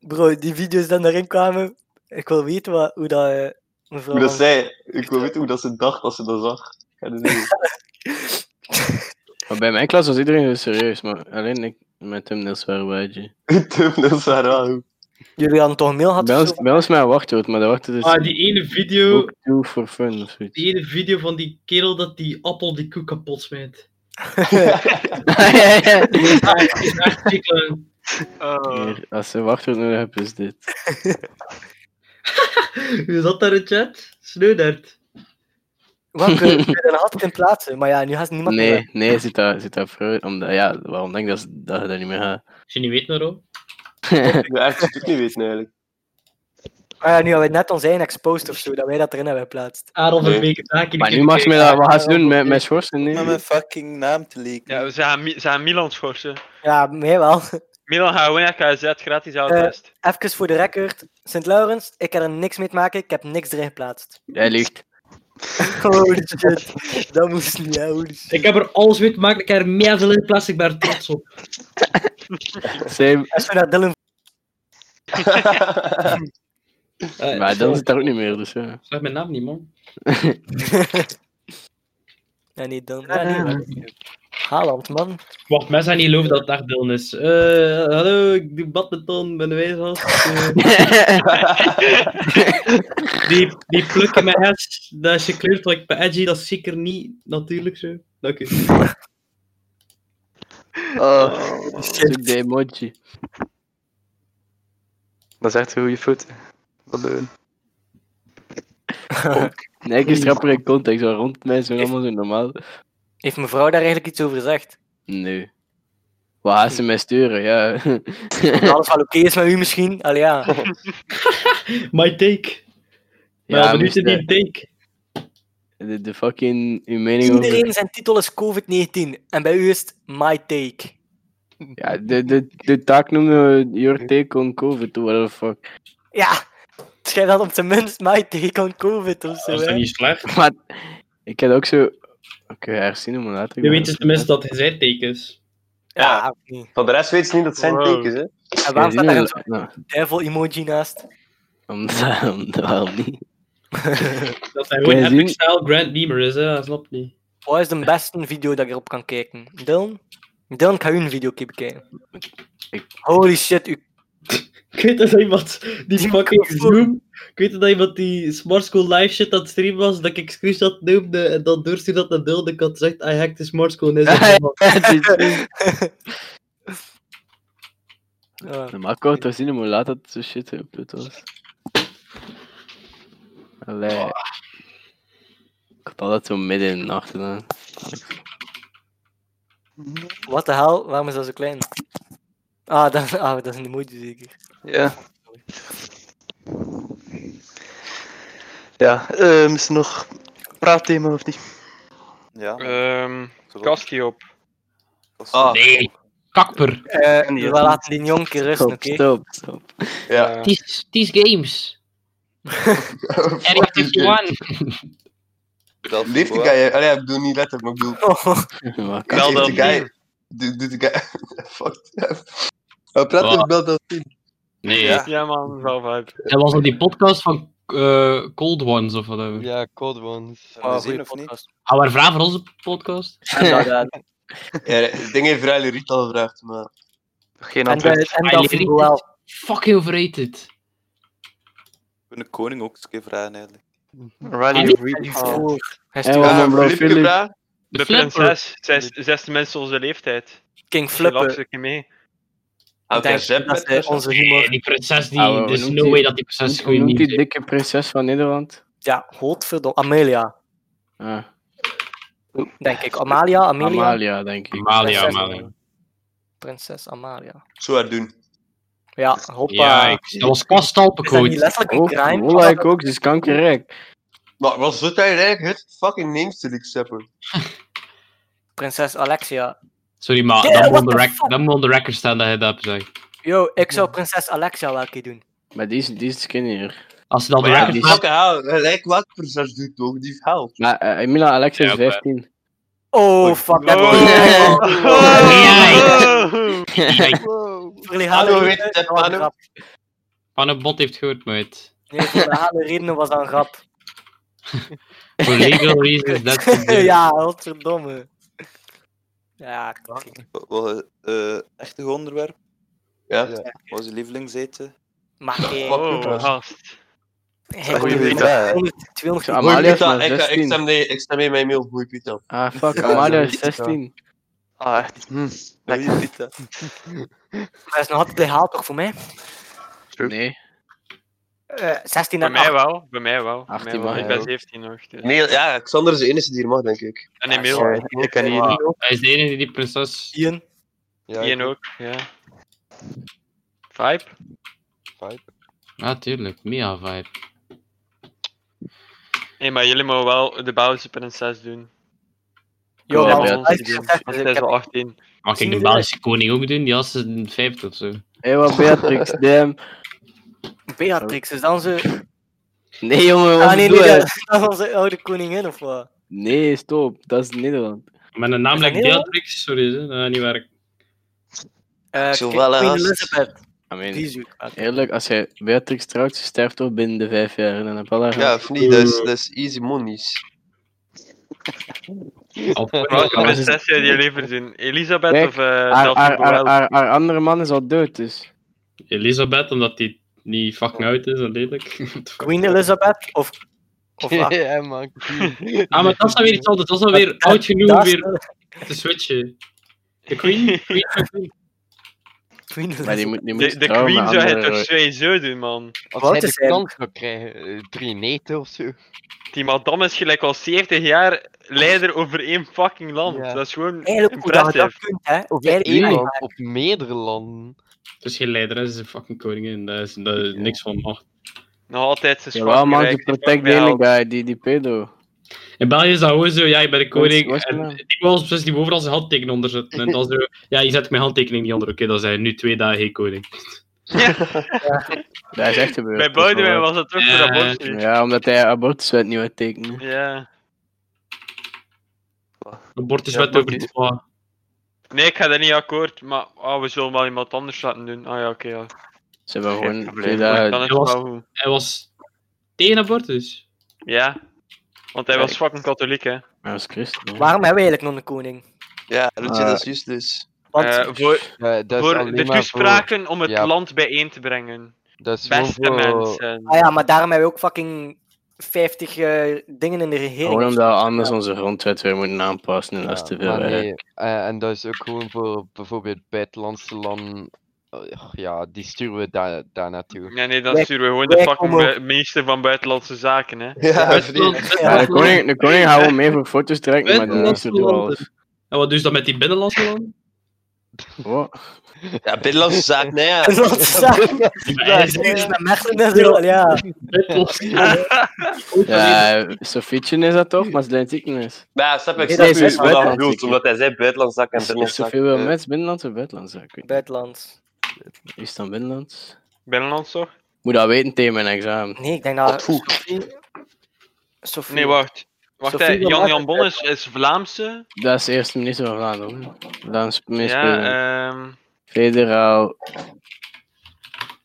Speaker 4: Bro, die video's die daarin kwamen, ik wil weten wat, hoe dat eh, mevrouw...
Speaker 6: Hoe dat zij... Ik wil weten hoe dat ze dacht als ze dat zag. Ja, dat is-
Speaker 7: maar bij mijn klas was iedereen heel serieus, maar alleen ik met hem was waar wijtje.
Speaker 6: De thumbnails waren wel goed.
Speaker 4: Jullie hadden toch een mail gehad?
Speaker 7: Bij
Speaker 4: of
Speaker 7: ons
Speaker 4: zo?
Speaker 7: bij ons maar een wachtwoord, maar dat wachtwoord is
Speaker 8: Ah, die ene video...
Speaker 7: ook too for fun of zoiets.
Speaker 8: Die ene video van die kerel dat die appel die koek kapot smijt. Dat is echt ziek, hè.
Speaker 2: Oh.
Speaker 7: Hier, Als ze een wachtwoord nodig hebben, is dit.
Speaker 8: Wie zat daar in chat? Sneudert.
Speaker 4: Want we we eh, hadden altijd in plaatsen, maar ja, nu gaat niemand meer.
Speaker 7: Nee, nee, zit daar, zit daar fruit. Omdat, ja, waarom denk ik dat, ze- dat je dat niet meer gaat?
Speaker 8: Als je niet weet waarom.
Speaker 6: Ik wil echt het niet weten, eigenlijk.
Speaker 4: Maar Ah, ja, nu hebben we net ons eigen exposed of zo, dat wij dat erin hebben geplaatst.
Speaker 8: Aaron
Speaker 6: Nee.
Speaker 8: van Beek het haakje.
Speaker 7: Maar nu mag ze me dat, wat gaat ze doen met, met schorsen? Nee?
Speaker 3: Om mijn fucking naam te leaken.
Speaker 2: Ja, we zijn, Mi- zijn Milan schorsen.
Speaker 4: Ja, mij wel.
Speaker 2: Milan gaat gewoon naar KZ, gratis outtest.
Speaker 4: Even voor de record, Sint Laurens, ik heb er niks mee te maken, ik heb niks erin geplaatst.
Speaker 7: Hij ligt.
Speaker 4: Holy Oh, shit, dat moest niet, hè, holy shit.
Speaker 8: Ik heb er alles mee te maken. Ik heb er meer veel in plaats. Ik ben er trots op.
Speaker 7: Zij,
Speaker 4: Dat is naar Dylan.
Speaker 8: Eh,
Speaker 7: maar
Speaker 8: sorry,
Speaker 7: dan zit daar ook niet meer, dus ja.
Speaker 8: ik Zeg mijn naam niet, man.
Speaker 4: Nee, nee, Dylan. Ja, nee, maar- Haaland, man.
Speaker 8: Wacht, mensen gaan niet geloven dat het echt Dylan is. Eh, hallo, ik doe badminton. Ben de wijsgast. Eh, die, die plukken mijn hash. Dat is gekleurd. want Ik ben edgy. Dat is zeker niet natuurlijk zo. Dank u.
Speaker 7: Oh, zoek de emoji.
Speaker 1: Dat is echt een goede foto. Wat leuk.
Speaker 7: Nee, ik is rapper in context, maar rond mij zijn allemaal zo normaal.
Speaker 4: Heeft mevrouw daar eigenlijk iets over gezegd?
Speaker 7: Nee. Waar gaan ze mij sturen, ja.
Speaker 4: Dat alles wel oké is met u misschien? Allee, ja.
Speaker 8: My take. Maar
Speaker 7: ja,
Speaker 8: ja, benieuwd
Speaker 7: moest,
Speaker 8: in die
Speaker 7: eh,
Speaker 8: take.
Speaker 7: de, de fucking, uw mening over...
Speaker 4: Iedereen zijn titel is COVID-19 en bij u is het My Take.
Speaker 7: Ja, de, de, de taak noemde we your take on covid, what the fuck.
Speaker 4: Ja, schrijf dat op zijn minst My Take on COVID of zo.
Speaker 8: Dat is
Speaker 4: hè.
Speaker 8: niet slecht.
Speaker 7: Maar ik had ook zo Oké, herzien om later.
Speaker 9: Nu weten ze tenminste dat hij zijn tekens.
Speaker 6: Ja, van de rest weten ze niet dat het zijn tekens, hè?
Speaker 4: En waarom staat daar een
Speaker 7: Nou,
Speaker 4: devil emoji naast?
Speaker 7: omdat, omdat waarom niet.
Speaker 9: Dat hij gewoon
Speaker 7: Kan je zien?
Speaker 9: epic style Grand Beamer is, hè? dat snap ik niet.
Speaker 4: Wat is de beste video dat ik erop kan kijken? Dylan? Dylan, ik ga u een video bekijken.
Speaker 7: Ik-
Speaker 4: Holy shit, u...
Speaker 9: Ik weet dat iemand die
Speaker 4: Die
Speaker 9: fucking
Speaker 4: microfoon.
Speaker 9: Zoom. Ik weet dat iemand die Smart School live shit aan het streamen was, dat ik screenshot noemde en dan doorstuurde dat naar Dylan. Ik had gezegd: I hacked de Smart School. En hij zei:
Speaker 4: Ah,
Speaker 7: Normaal kon je toch zien hoe laat dat zo shit geüpload was. Allee. Ik had altijd zo midden in de nacht gedaan.
Speaker 4: what the hell? Waarom is dat zo klein? Ah, dat, ah, dat is in de moeite zeker.
Speaker 1: Ja. Ja, ehm, is er nog een praatthema of niet?
Speaker 3: Ja.
Speaker 2: Ehm
Speaker 3: zo.
Speaker 2: Kastje op.
Speaker 6: Ah,
Speaker 8: Nee, kakper.
Speaker 4: Eh,
Speaker 1: niet,
Speaker 4: we
Speaker 1: dat
Speaker 4: laten die jongen een keer rusten,
Speaker 7: Stop,
Speaker 4: oké?
Speaker 7: stop, stop.
Speaker 6: ja.
Speaker 9: These games.
Speaker 8: dus
Speaker 9: Area 51.
Speaker 3: Dat
Speaker 6: Leeft de guy, allee, ik bedoel niet letterlijk, maar ik bedoel...
Speaker 4: Oh,
Speaker 7: Wat kan-
Speaker 2: Bel
Speaker 6: Leeft
Speaker 2: dan
Speaker 6: de guy... Doet doet de guy... Fuck. Hij praat over Bel dan
Speaker 8: Nee,
Speaker 3: Ja.
Speaker 2: Ja man, wel vibe.
Speaker 8: dat was op die podcast van eh, Cold Ones of whatever. Ja.
Speaker 5: Ja, Cold Ones.
Speaker 3: Gaan we
Speaker 4: Ah, goeie
Speaker 3: zien of niet?
Speaker 4: podcast.
Speaker 8: Hou haar vragen voor onze podcast.
Speaker 4: Inderdaad.
Speaker 6: Ja, ik denk even Riley Riet al gevraagd,
Speaker 7: Oh,
Speaker 6: maar...
Speaker 1: Geen
Speaker 4: En,
Speaker 1: antwoord.
Speaker 4: de- en dat vind ik wel.
Speaker 8: Fucking overrated.
Speaker 3: We kunnen Koning ook eens een keer vragen, eigenlijk.
Speaker 2: Ah,
Speaker 1: Riley Reed.
Speaker 4: Oh, hij
Speaker 7: Hey,
Speaker 4: stuurt
Speaker 7: man,
Speaker 6: Ja,
Speaker 7: bro,
Speaker 6: Filip
Speaker 7: Filip.
Speaker 6: gevraagd?
Speaker 2: De
Speaker 9: Flipper.
Speaker 2: prinses. Zij is zesde mensen onze leeftijd.
Speaker 4: King
Speaker 2: Flipper.
Speaker 4: Flippen.
Speaker 2: ze keer mee.
Speaker 6: Oké,
Speaker 4: Ik denk
Speaker 6: Zep
Speaker 4: dat zij
Speaker 6: met
Speaker 4: onze humor...
Speaker 8: Nee, die prinses die.
Speaker 7: Ah, wel,
Speaker 8: dus
Speaker 7: noemt
Speaker 8: no
Speaker 7: die-
Speaker 8: way dat die
Speaker 7: Hoe
Speaker 8: prinses
Speaker 7: hoe
Speaker 8: gewoon
Speaker 7: noemt
Speaker 8: niet.
Speaker 7: die dikke prinses van Nederland?
Speaker 4: Ja, godverdomme. Amelia,
Speaker 7: Ah,
Speaker 4: denk ik. Amalia, Amelia.
Speaker 7: Amalia, denk ik.
Speaker 8: Amalia,
Speaker 4: Prinses.
Speaker 8: Amalia.
Speaker 4: Prinses Amalia.
Speaker 6: Zo haar doen.
Speaker 4: Ja, hoppa.
Speaker 8: Ja, ik- dat was
Speaker 4: Is dat
Speaker 8: kastalpencoach.
Speaker 4: niet letterlijk een
Speaker 7: Oh,
Speaker 4: crime?
Speaker 7: Ola, ik ook, ze is kankerrijk.
Speaker 6: Maar was dit eigenlijk het fucking neemste die ik Zep hoor?
Speaker 4: Prinses Alexia.
Speaker 8: Sorry, maar
Speaker 4: Yeah,
Speaker 8: dat, moet
Speaker 4: what
Speaker 8: on the
Speaker 4: the
Speaker 8: rec-
Speaker 4: fuck?
Speaker 8: dat moet on the record staan dat hij dat hebt gezegd.
Speaker 4: Yo, ik zou prinses Alexia wel een keer doen.
Speaker 7: Maar die is, die is skinnier.
Speaker 8: Als het on the
Speaker 7: Maar ja,
Speaker 8: record
Speaker 7: die-
Speaker 8: staat,
Speaker 6: Fucking hell, gelijk wat proces doet toch, die helpt.
Speaker 7: Maar eh, Emila Alexa is
Speaker 8: Ja, maar-
Speaker 7: 15.
Speaker 4: Oh, fuck that
Speaker 2: Oh.
Speaker 8: Oh.
Speaker 2: Oh.
Speaker 8: Kijk,
Speaker 4: Verlegale
Speaker 6: Hallo,
Speaker 4: redenen
Speaker 6: weet je,
Speaker 4: dat was een
Speaker 6: Manu?
Speaker 4: grap.
Speaker 8: Van een bot heeft gehoord, mate.
Speaker 4: Nee, verlegale redenen was dat een grap.
Speaker 8: For legal reasons, that's the deal.
Speaker 4: ja, wat verdomme. Ja, kijk.
Speaker 3: Wat- wat, eh, Echt een goed onderwerp.
Speaker 6: Ja.
Speaker 3: Wat is je lievelingseten?
Speaker 4: Maar hey,
Speaker 2: Oh, gast.
Speaker 4: hey,
Speaker 3: Goeie
Speaker 4: hey,
Speaker 3: pita, hè.
Speaker 4: 200,
Speaker 7: Zo,
Speaker 4: 200
Speaker 7: Amalia is maar
Speaker 6: ik, ik
Speaker 7: 16.
Speaker 6: stem mee, ik stem mee mijn mail, goeie Pita.
Speaker 7: Ah, fuck,
Speaker 3: Ja,
Speaker 7: Amalia
Speaker 3: dat
Speaker 7: is
Speaker 3: weet ik
Speaker 7: 16.
Speaker 1: Ah, echt. Hm. Lekker.
Speaker 3: Goeie pita.
Speaker 4: dat is nog altijd legaal toch voor mij?
Speaker 7: Nee.
Speaker 4: Eh 16
Speaker 2: Bij
Speaker 4: en
Speaker 2: mij
Speaker 4: 8.
Speaker 2: wel. Bij mij wel. Bij
Speaker 7: 18
Speaker 2: mij wel.
Speaker 7: mag
Speaker 2: Ik
Speaker 7: hij
Speaker 2: ben
Speaker 7: ook.
Speaker 2: 17 nog. dus.
Speaker 6: Nee, ja, Xander is de enige die er mag, denk ik.
Speaker 2: En Emil.
Speaker 1: Sorry, Ik ken
Speaker 8: Ja,
Speaker 1: niet.
Speaker 8: hij is de enige die die prinses.
Speaker 5: Ja,
Speaker 2: Ian ook. Ja. Vibe.
Speaker 8: Ja, tuurlijk, mega vibe.
Speaker 2: Nee, maar jullie mogen wel de Belgische prinses doen.
Speaker 4: Yo,
Speaker 2: Ja,
Speaker 4: man,
Speaker 2: bij
Speaker 4: als
Speaker 2: ons
Speaker 4: ik
Speaker 2: doen,
Speaker 4: gezegd heb,
Speaker 2: Want
Speaker 4: ik
Speaker 2: zij is
Speaker 4: heb-
Speaker 2: al 18.
Speaker 8: Mag ik de
Speaker 4: Zie-
Speaker 8: Belgische koning ook doen? Die was een 50 of zo.
Speaker 7: Hé, hey, wat Beatrix, damn.
Speaker 4: Beatrix, is dat onze...
Speaker 7: Nee, jongen, wat
Speaker 4: Ah, nee,
Speaker 7: doe
Speaker 4: nee,
Speaker 7: je?
Speaker 4: dat is dat onze oude koningin of wat?
Speaker 7: Nee, stop, dat is Nederland.
Speaker 8: Met een naam
Speaker 4: Is dat
Speaker 8: like
Speaker 4: heel?
Speaker 8: Beatrix, sorry, hè, dat gaat niet werken.
Speaker 4: Eh,
Speaker 6: Zo
Speaker 4: Queen
Speaker 6: wel, hè, gast.
Speaker 4: Elizabeth,
Speaker 7: I
Speaker 4: die
Speaker 7: mean,
Speaker 4: zoek ik.
Speaker 7: eerlijk, als jij Beatrix trouwt, ze sterft toch binnen de vijf jaar. Dan heb je al haar
Speaker 6: Ja, of niet, dat is, dat is easy monies.
Speaker 8: Of-
Speaker 2: Welke
Speaker 7: dat is-
Speaker 2: prinses zou je liever doen? Elisabeth
Speaker 7: Kijk,
Speaker 2: of eh
Speaker 7: haar,
Speaker 2: Delphine
Speaker 7: haar, haar,
Speaker 2: Powell?
Speaker 7: haar, haar andere man is al dood, dus.
Speaker 8: Elisabeth, omdat die niet fucking oud is, dat lelijk.
Speaker 4: Queen Elizabeth of... of ah,
Speaker 5: ja, man.
Speaker 8: Ah, maar dat is dan weer iets anders. Dat is dan weer oud genoeg om
Speaker 4: daar
Speaker 8: weer
Speaker 4: staat-
Speaker 8: te switchen. De queen? queen van queen.
Speaker 4: Queen
Speaker 7: Maar die
Speaker 4: Elizabeth.
Speaker 7: moet, die moet
Speaker 2: De, de
Speaker 7: trouwen
Speaker 2: Queen
Speaker 7: met
Speaker 2: zou je
Speaker 7: andere-
Speaker 2: toch sowieso doen, man.
Speaker 5: Als
Speaker 4: Wat
Speaker 5: hij
Speaker 4: is
Speaker 5: de
Speaker 4: hij?
Speaker 5: kans zou krijgen, eh, drie neten of zo.
Speaker 2: Die madame is gelijk al 70 jaar leider over één fucking land.
Speaker 5: Ja.
Speaker 2: Dat is gewoon
Speaker 4: Eigenlijk hoe dat je dat
Speaker 2: impressive.
Speaker 4: kunt, hè.
Speaker 5: Of
Speaker 4: Eigenlijk
Speaker 5: één
Speaker 4: hoe dat-
Speaker 5: land, of meerdere landen.
Speaker 8: Dat is geen leider, hè, ze is een fucking koningin. Daar is, daar is niks van macht.
Speaker 2: Nog altijd zijn
Speaker 7: Jawel, man, die protect de ene
Speaker 2: guy.
Speaker 7: guy, die, die pedo.
Speaker 8: In België is dat gewoon zo, ja, ik ben de koning.
Speaker 7: Wat is- wat is
Speaker 8: en
Speaker 7: dat?
Speaker 8: ik wil als precies die overal zijn handtekening onder zetten. En dan zo, ja, je zet mijn handtekening niet onder. Oké, dan zijn we nu twee dagen geen koning.
Speaker 7: Dat is echt gebeurd.
Speaker 2: Bij
Speaker 7: dat is
Speaker 2: Boudewijn
Speaker 7: wel waar.
Speaker 2: was dat ook voor
Speaker 8: Ja.
Speaker 2: abortus.
Speaker 7: Ja, omdat hij abortuswet niet wil tekenen.
Speaker 2: Ja.
Speaker 10: Een bord is wet over die twee.
Speaker 2: Nee, ik ga daar niet akkoord, maar ah, we zullen wel iemand anders laten doen. Ah ja, oké. ja.
Speaker 7: Ze hebben
Speaker 11: Geen
Speaker 7: gewoon
Speaker 11: probleem.
Speaker 7: twee dagen-
Speaker 2: Dan is
Speaker 10: dat
Speaker 2: het
Speaker 10: was-
Speaker 2: wel goed.
Speaker 10: Hij was tegen
Speaker 8: dus.
Speaker 10: abortus.
Speaker 2: Ja. Want hij was fucking katholiek, hè.
Speaker 7: Ja, dat is christen.
Speaker 4: Waarom hebben we eigenlijk nog een koning?
Speaker 11: Ja, Roetje,
Speaker 5: Ah.
Speaker 11: dat is juist dus.
Speaker 4: Want
Speaker 2: Eh, voor
Speaker 5: Eh, dat is
Speaker 2: voor
Speaker 5: alleen
Speaker 2: de
Speaker 5: maar voor-
Speaker 2: toespraken om het
Speaker 5: ja.
Speaker 2: land bijeen te brengen.
Speaker 5: dat is
Speaker 2: Beste
Speaker 5: gewoon voor-
Speaker 2: mensen.
Speaker 4: Ah ja, maar daarom hebben we ook fucking 50 eh, dingen in de regering.
Speaker 7: Gewoon omdat we anders onze grondwet weer moeten aanpassen en dat is te veel
Speaker 5: maar
Speaker 7: werk.
Speaker 5: nee, eh, en dat is ook gewoon voor bijvoorbeeld buitenlandse landen. eh, Ja, die sturen we daar, daar naartoe.
Speaker 2: Nee, nee, dan
Speaker 4: Wij-
Speaker 2: sturen we gewoon de
Speaker 4: wij
Speaker 2: fucking
Speaker 4: komen-
Speaker 2: bu- minister van Buitenlandse Zaken, hè.
Speaker 6: Ja, vriend.
Speaker 7: Ja, de koning, de koning gaat wel mee voor foto's trekken, maar de
Speaker 8: Buitenlandse
Speaker 7: minister doet
Speaker 8: landen.
Speaker 7: alles.
Speaker 10: En wat doe je dan met die binnenlandse landen?
Speaker 7: Wat?
Speaker 6: Ja, binnenlandse zaak, nee ja.
Speaker 4: Dat is dat.
Speaker 10: Ja,
Speaker 4: is met Mersen en zo, ja.
Speaker 7: Ja, Sofietje is dat toch? Maar ze leidt ziekenis.
Speaker 6: Ja, snap ik.
Speaker 4: Nee,
Speaker 6: Ik
Speaker 4: dat
Speaker 6: snap
Speaker 4: is
Speaker 6: u wat dat
Speaker 7: buitenland,
Speaker 6: bedoelt,
Speaker 7: zeker.
Speaker 6: omdat hij zei buitenlandse zaak en
Speaker 7: Is
Speaker 6: binnenlandse
Speaker 7: Sofie wel
Speaker 6: zaak.
Speaker 7: met binnenland of buitenland? Ik weet niet.
Speaker 4: Buitenland.
Speaker 7: Is het dan binnenland?
Speaker 2: Binnenlands toch?
Speaker 7: Moet dat weten tegen mijn examen.
Speaker 4: Nee, ik denk dat. Sophie. Sophie.
Speaker 2: Nee, wacht. Wacht,
Speaker 4: Sophie
Speaker 2: hè.
Speaker 4: van
Speaker 2: Jan
Speaker 4: Laken-
Speaker 2: Jan Bon is, is Vlaamse.
Speaker 7: Dat is de eerste minister van Vlaanderen. Vlaams minister.
Speaker 2: Ja, ehm
Speaker 7: Federaal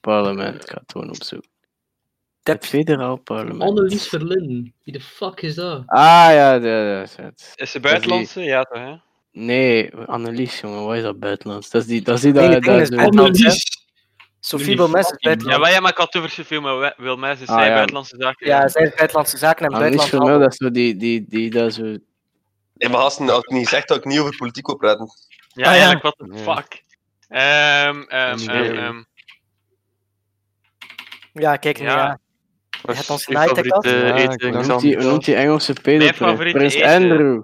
Speaker 7: parlement. Ik ga het gewoon opzoeken. Het federaal parlement.
Speaker 8: Annelies Verlin. Wie de fuck is dat?
Speaker 7: Ah ja, dat dat is het.
Speaker 2: is ze buitenlandse? Ja, toch, hè?
Speaker 7: Nee, Annelies, jongen, wat is dat buitenlands? Dat is die, dat is die
Speaker 4: Nee,
Speaker 7: daar.
Speaker 4: ik denk
Speaker 7: daar
Speaker 4: dat
Speaker 7: zo-
Speaker 4: het buitenland is.
Speaker 8: Die
Speaker 4: Sophie Wilmes is
Speaker 2: Ja,
Speaker 4: buitenland.
Speaker 2: maar, ja, maar ik had het over zoveel, maar we- Wilmès is
Speaker 7: Ah,
Speaker 2: zij
Speaker 7: ja.
Speaker 2: buitenlandse zaken.
Speaker 4: Ja, zij is buitenlandse zaken en
Speaker 7: Annelies
Speaker 4: buitenland.
Speaker 7: Vermeulen, dat is zo die, die, die, dat zo...
Speaker 6: Nee, maar gasten, als het niet zegt dat ik niet over politiek wil praten.
Speaker 2: Ja,
Speaker 4: Ah, ja.
Speaker 2: eigenlijk, what the
Speaker 5: Ja.
Speaker 2: fuck. Ehm ehm
Speaker 5: Ja.
Speaker 2: ehm ehm
Speaker 4: Ja, kijk nu,
Speaker 2: Ja.
Speaker 4: ja.
Speaker 1: Wat
Speaker 4: hebt
Speaker 1: is
Speaker 4: ons
Speaker 1: uw
Speaker 4: naaitekt
Speaker 1: favoriete
Speaker 4: al?
Speaker 5: Ja,
Speaker 1: eten,
Speaker 5: ik
Speaker 7: Hoe noemt
Speaker 1: Xander?
Speaker 7: die, hoe noemt die Engelse
Speaker 2: Mijn
Speaker 7: pedo?
Speaker 2: favoriete
Speaker 7: Prins
Speaker 2: eten.
Speaker 7: Andrew.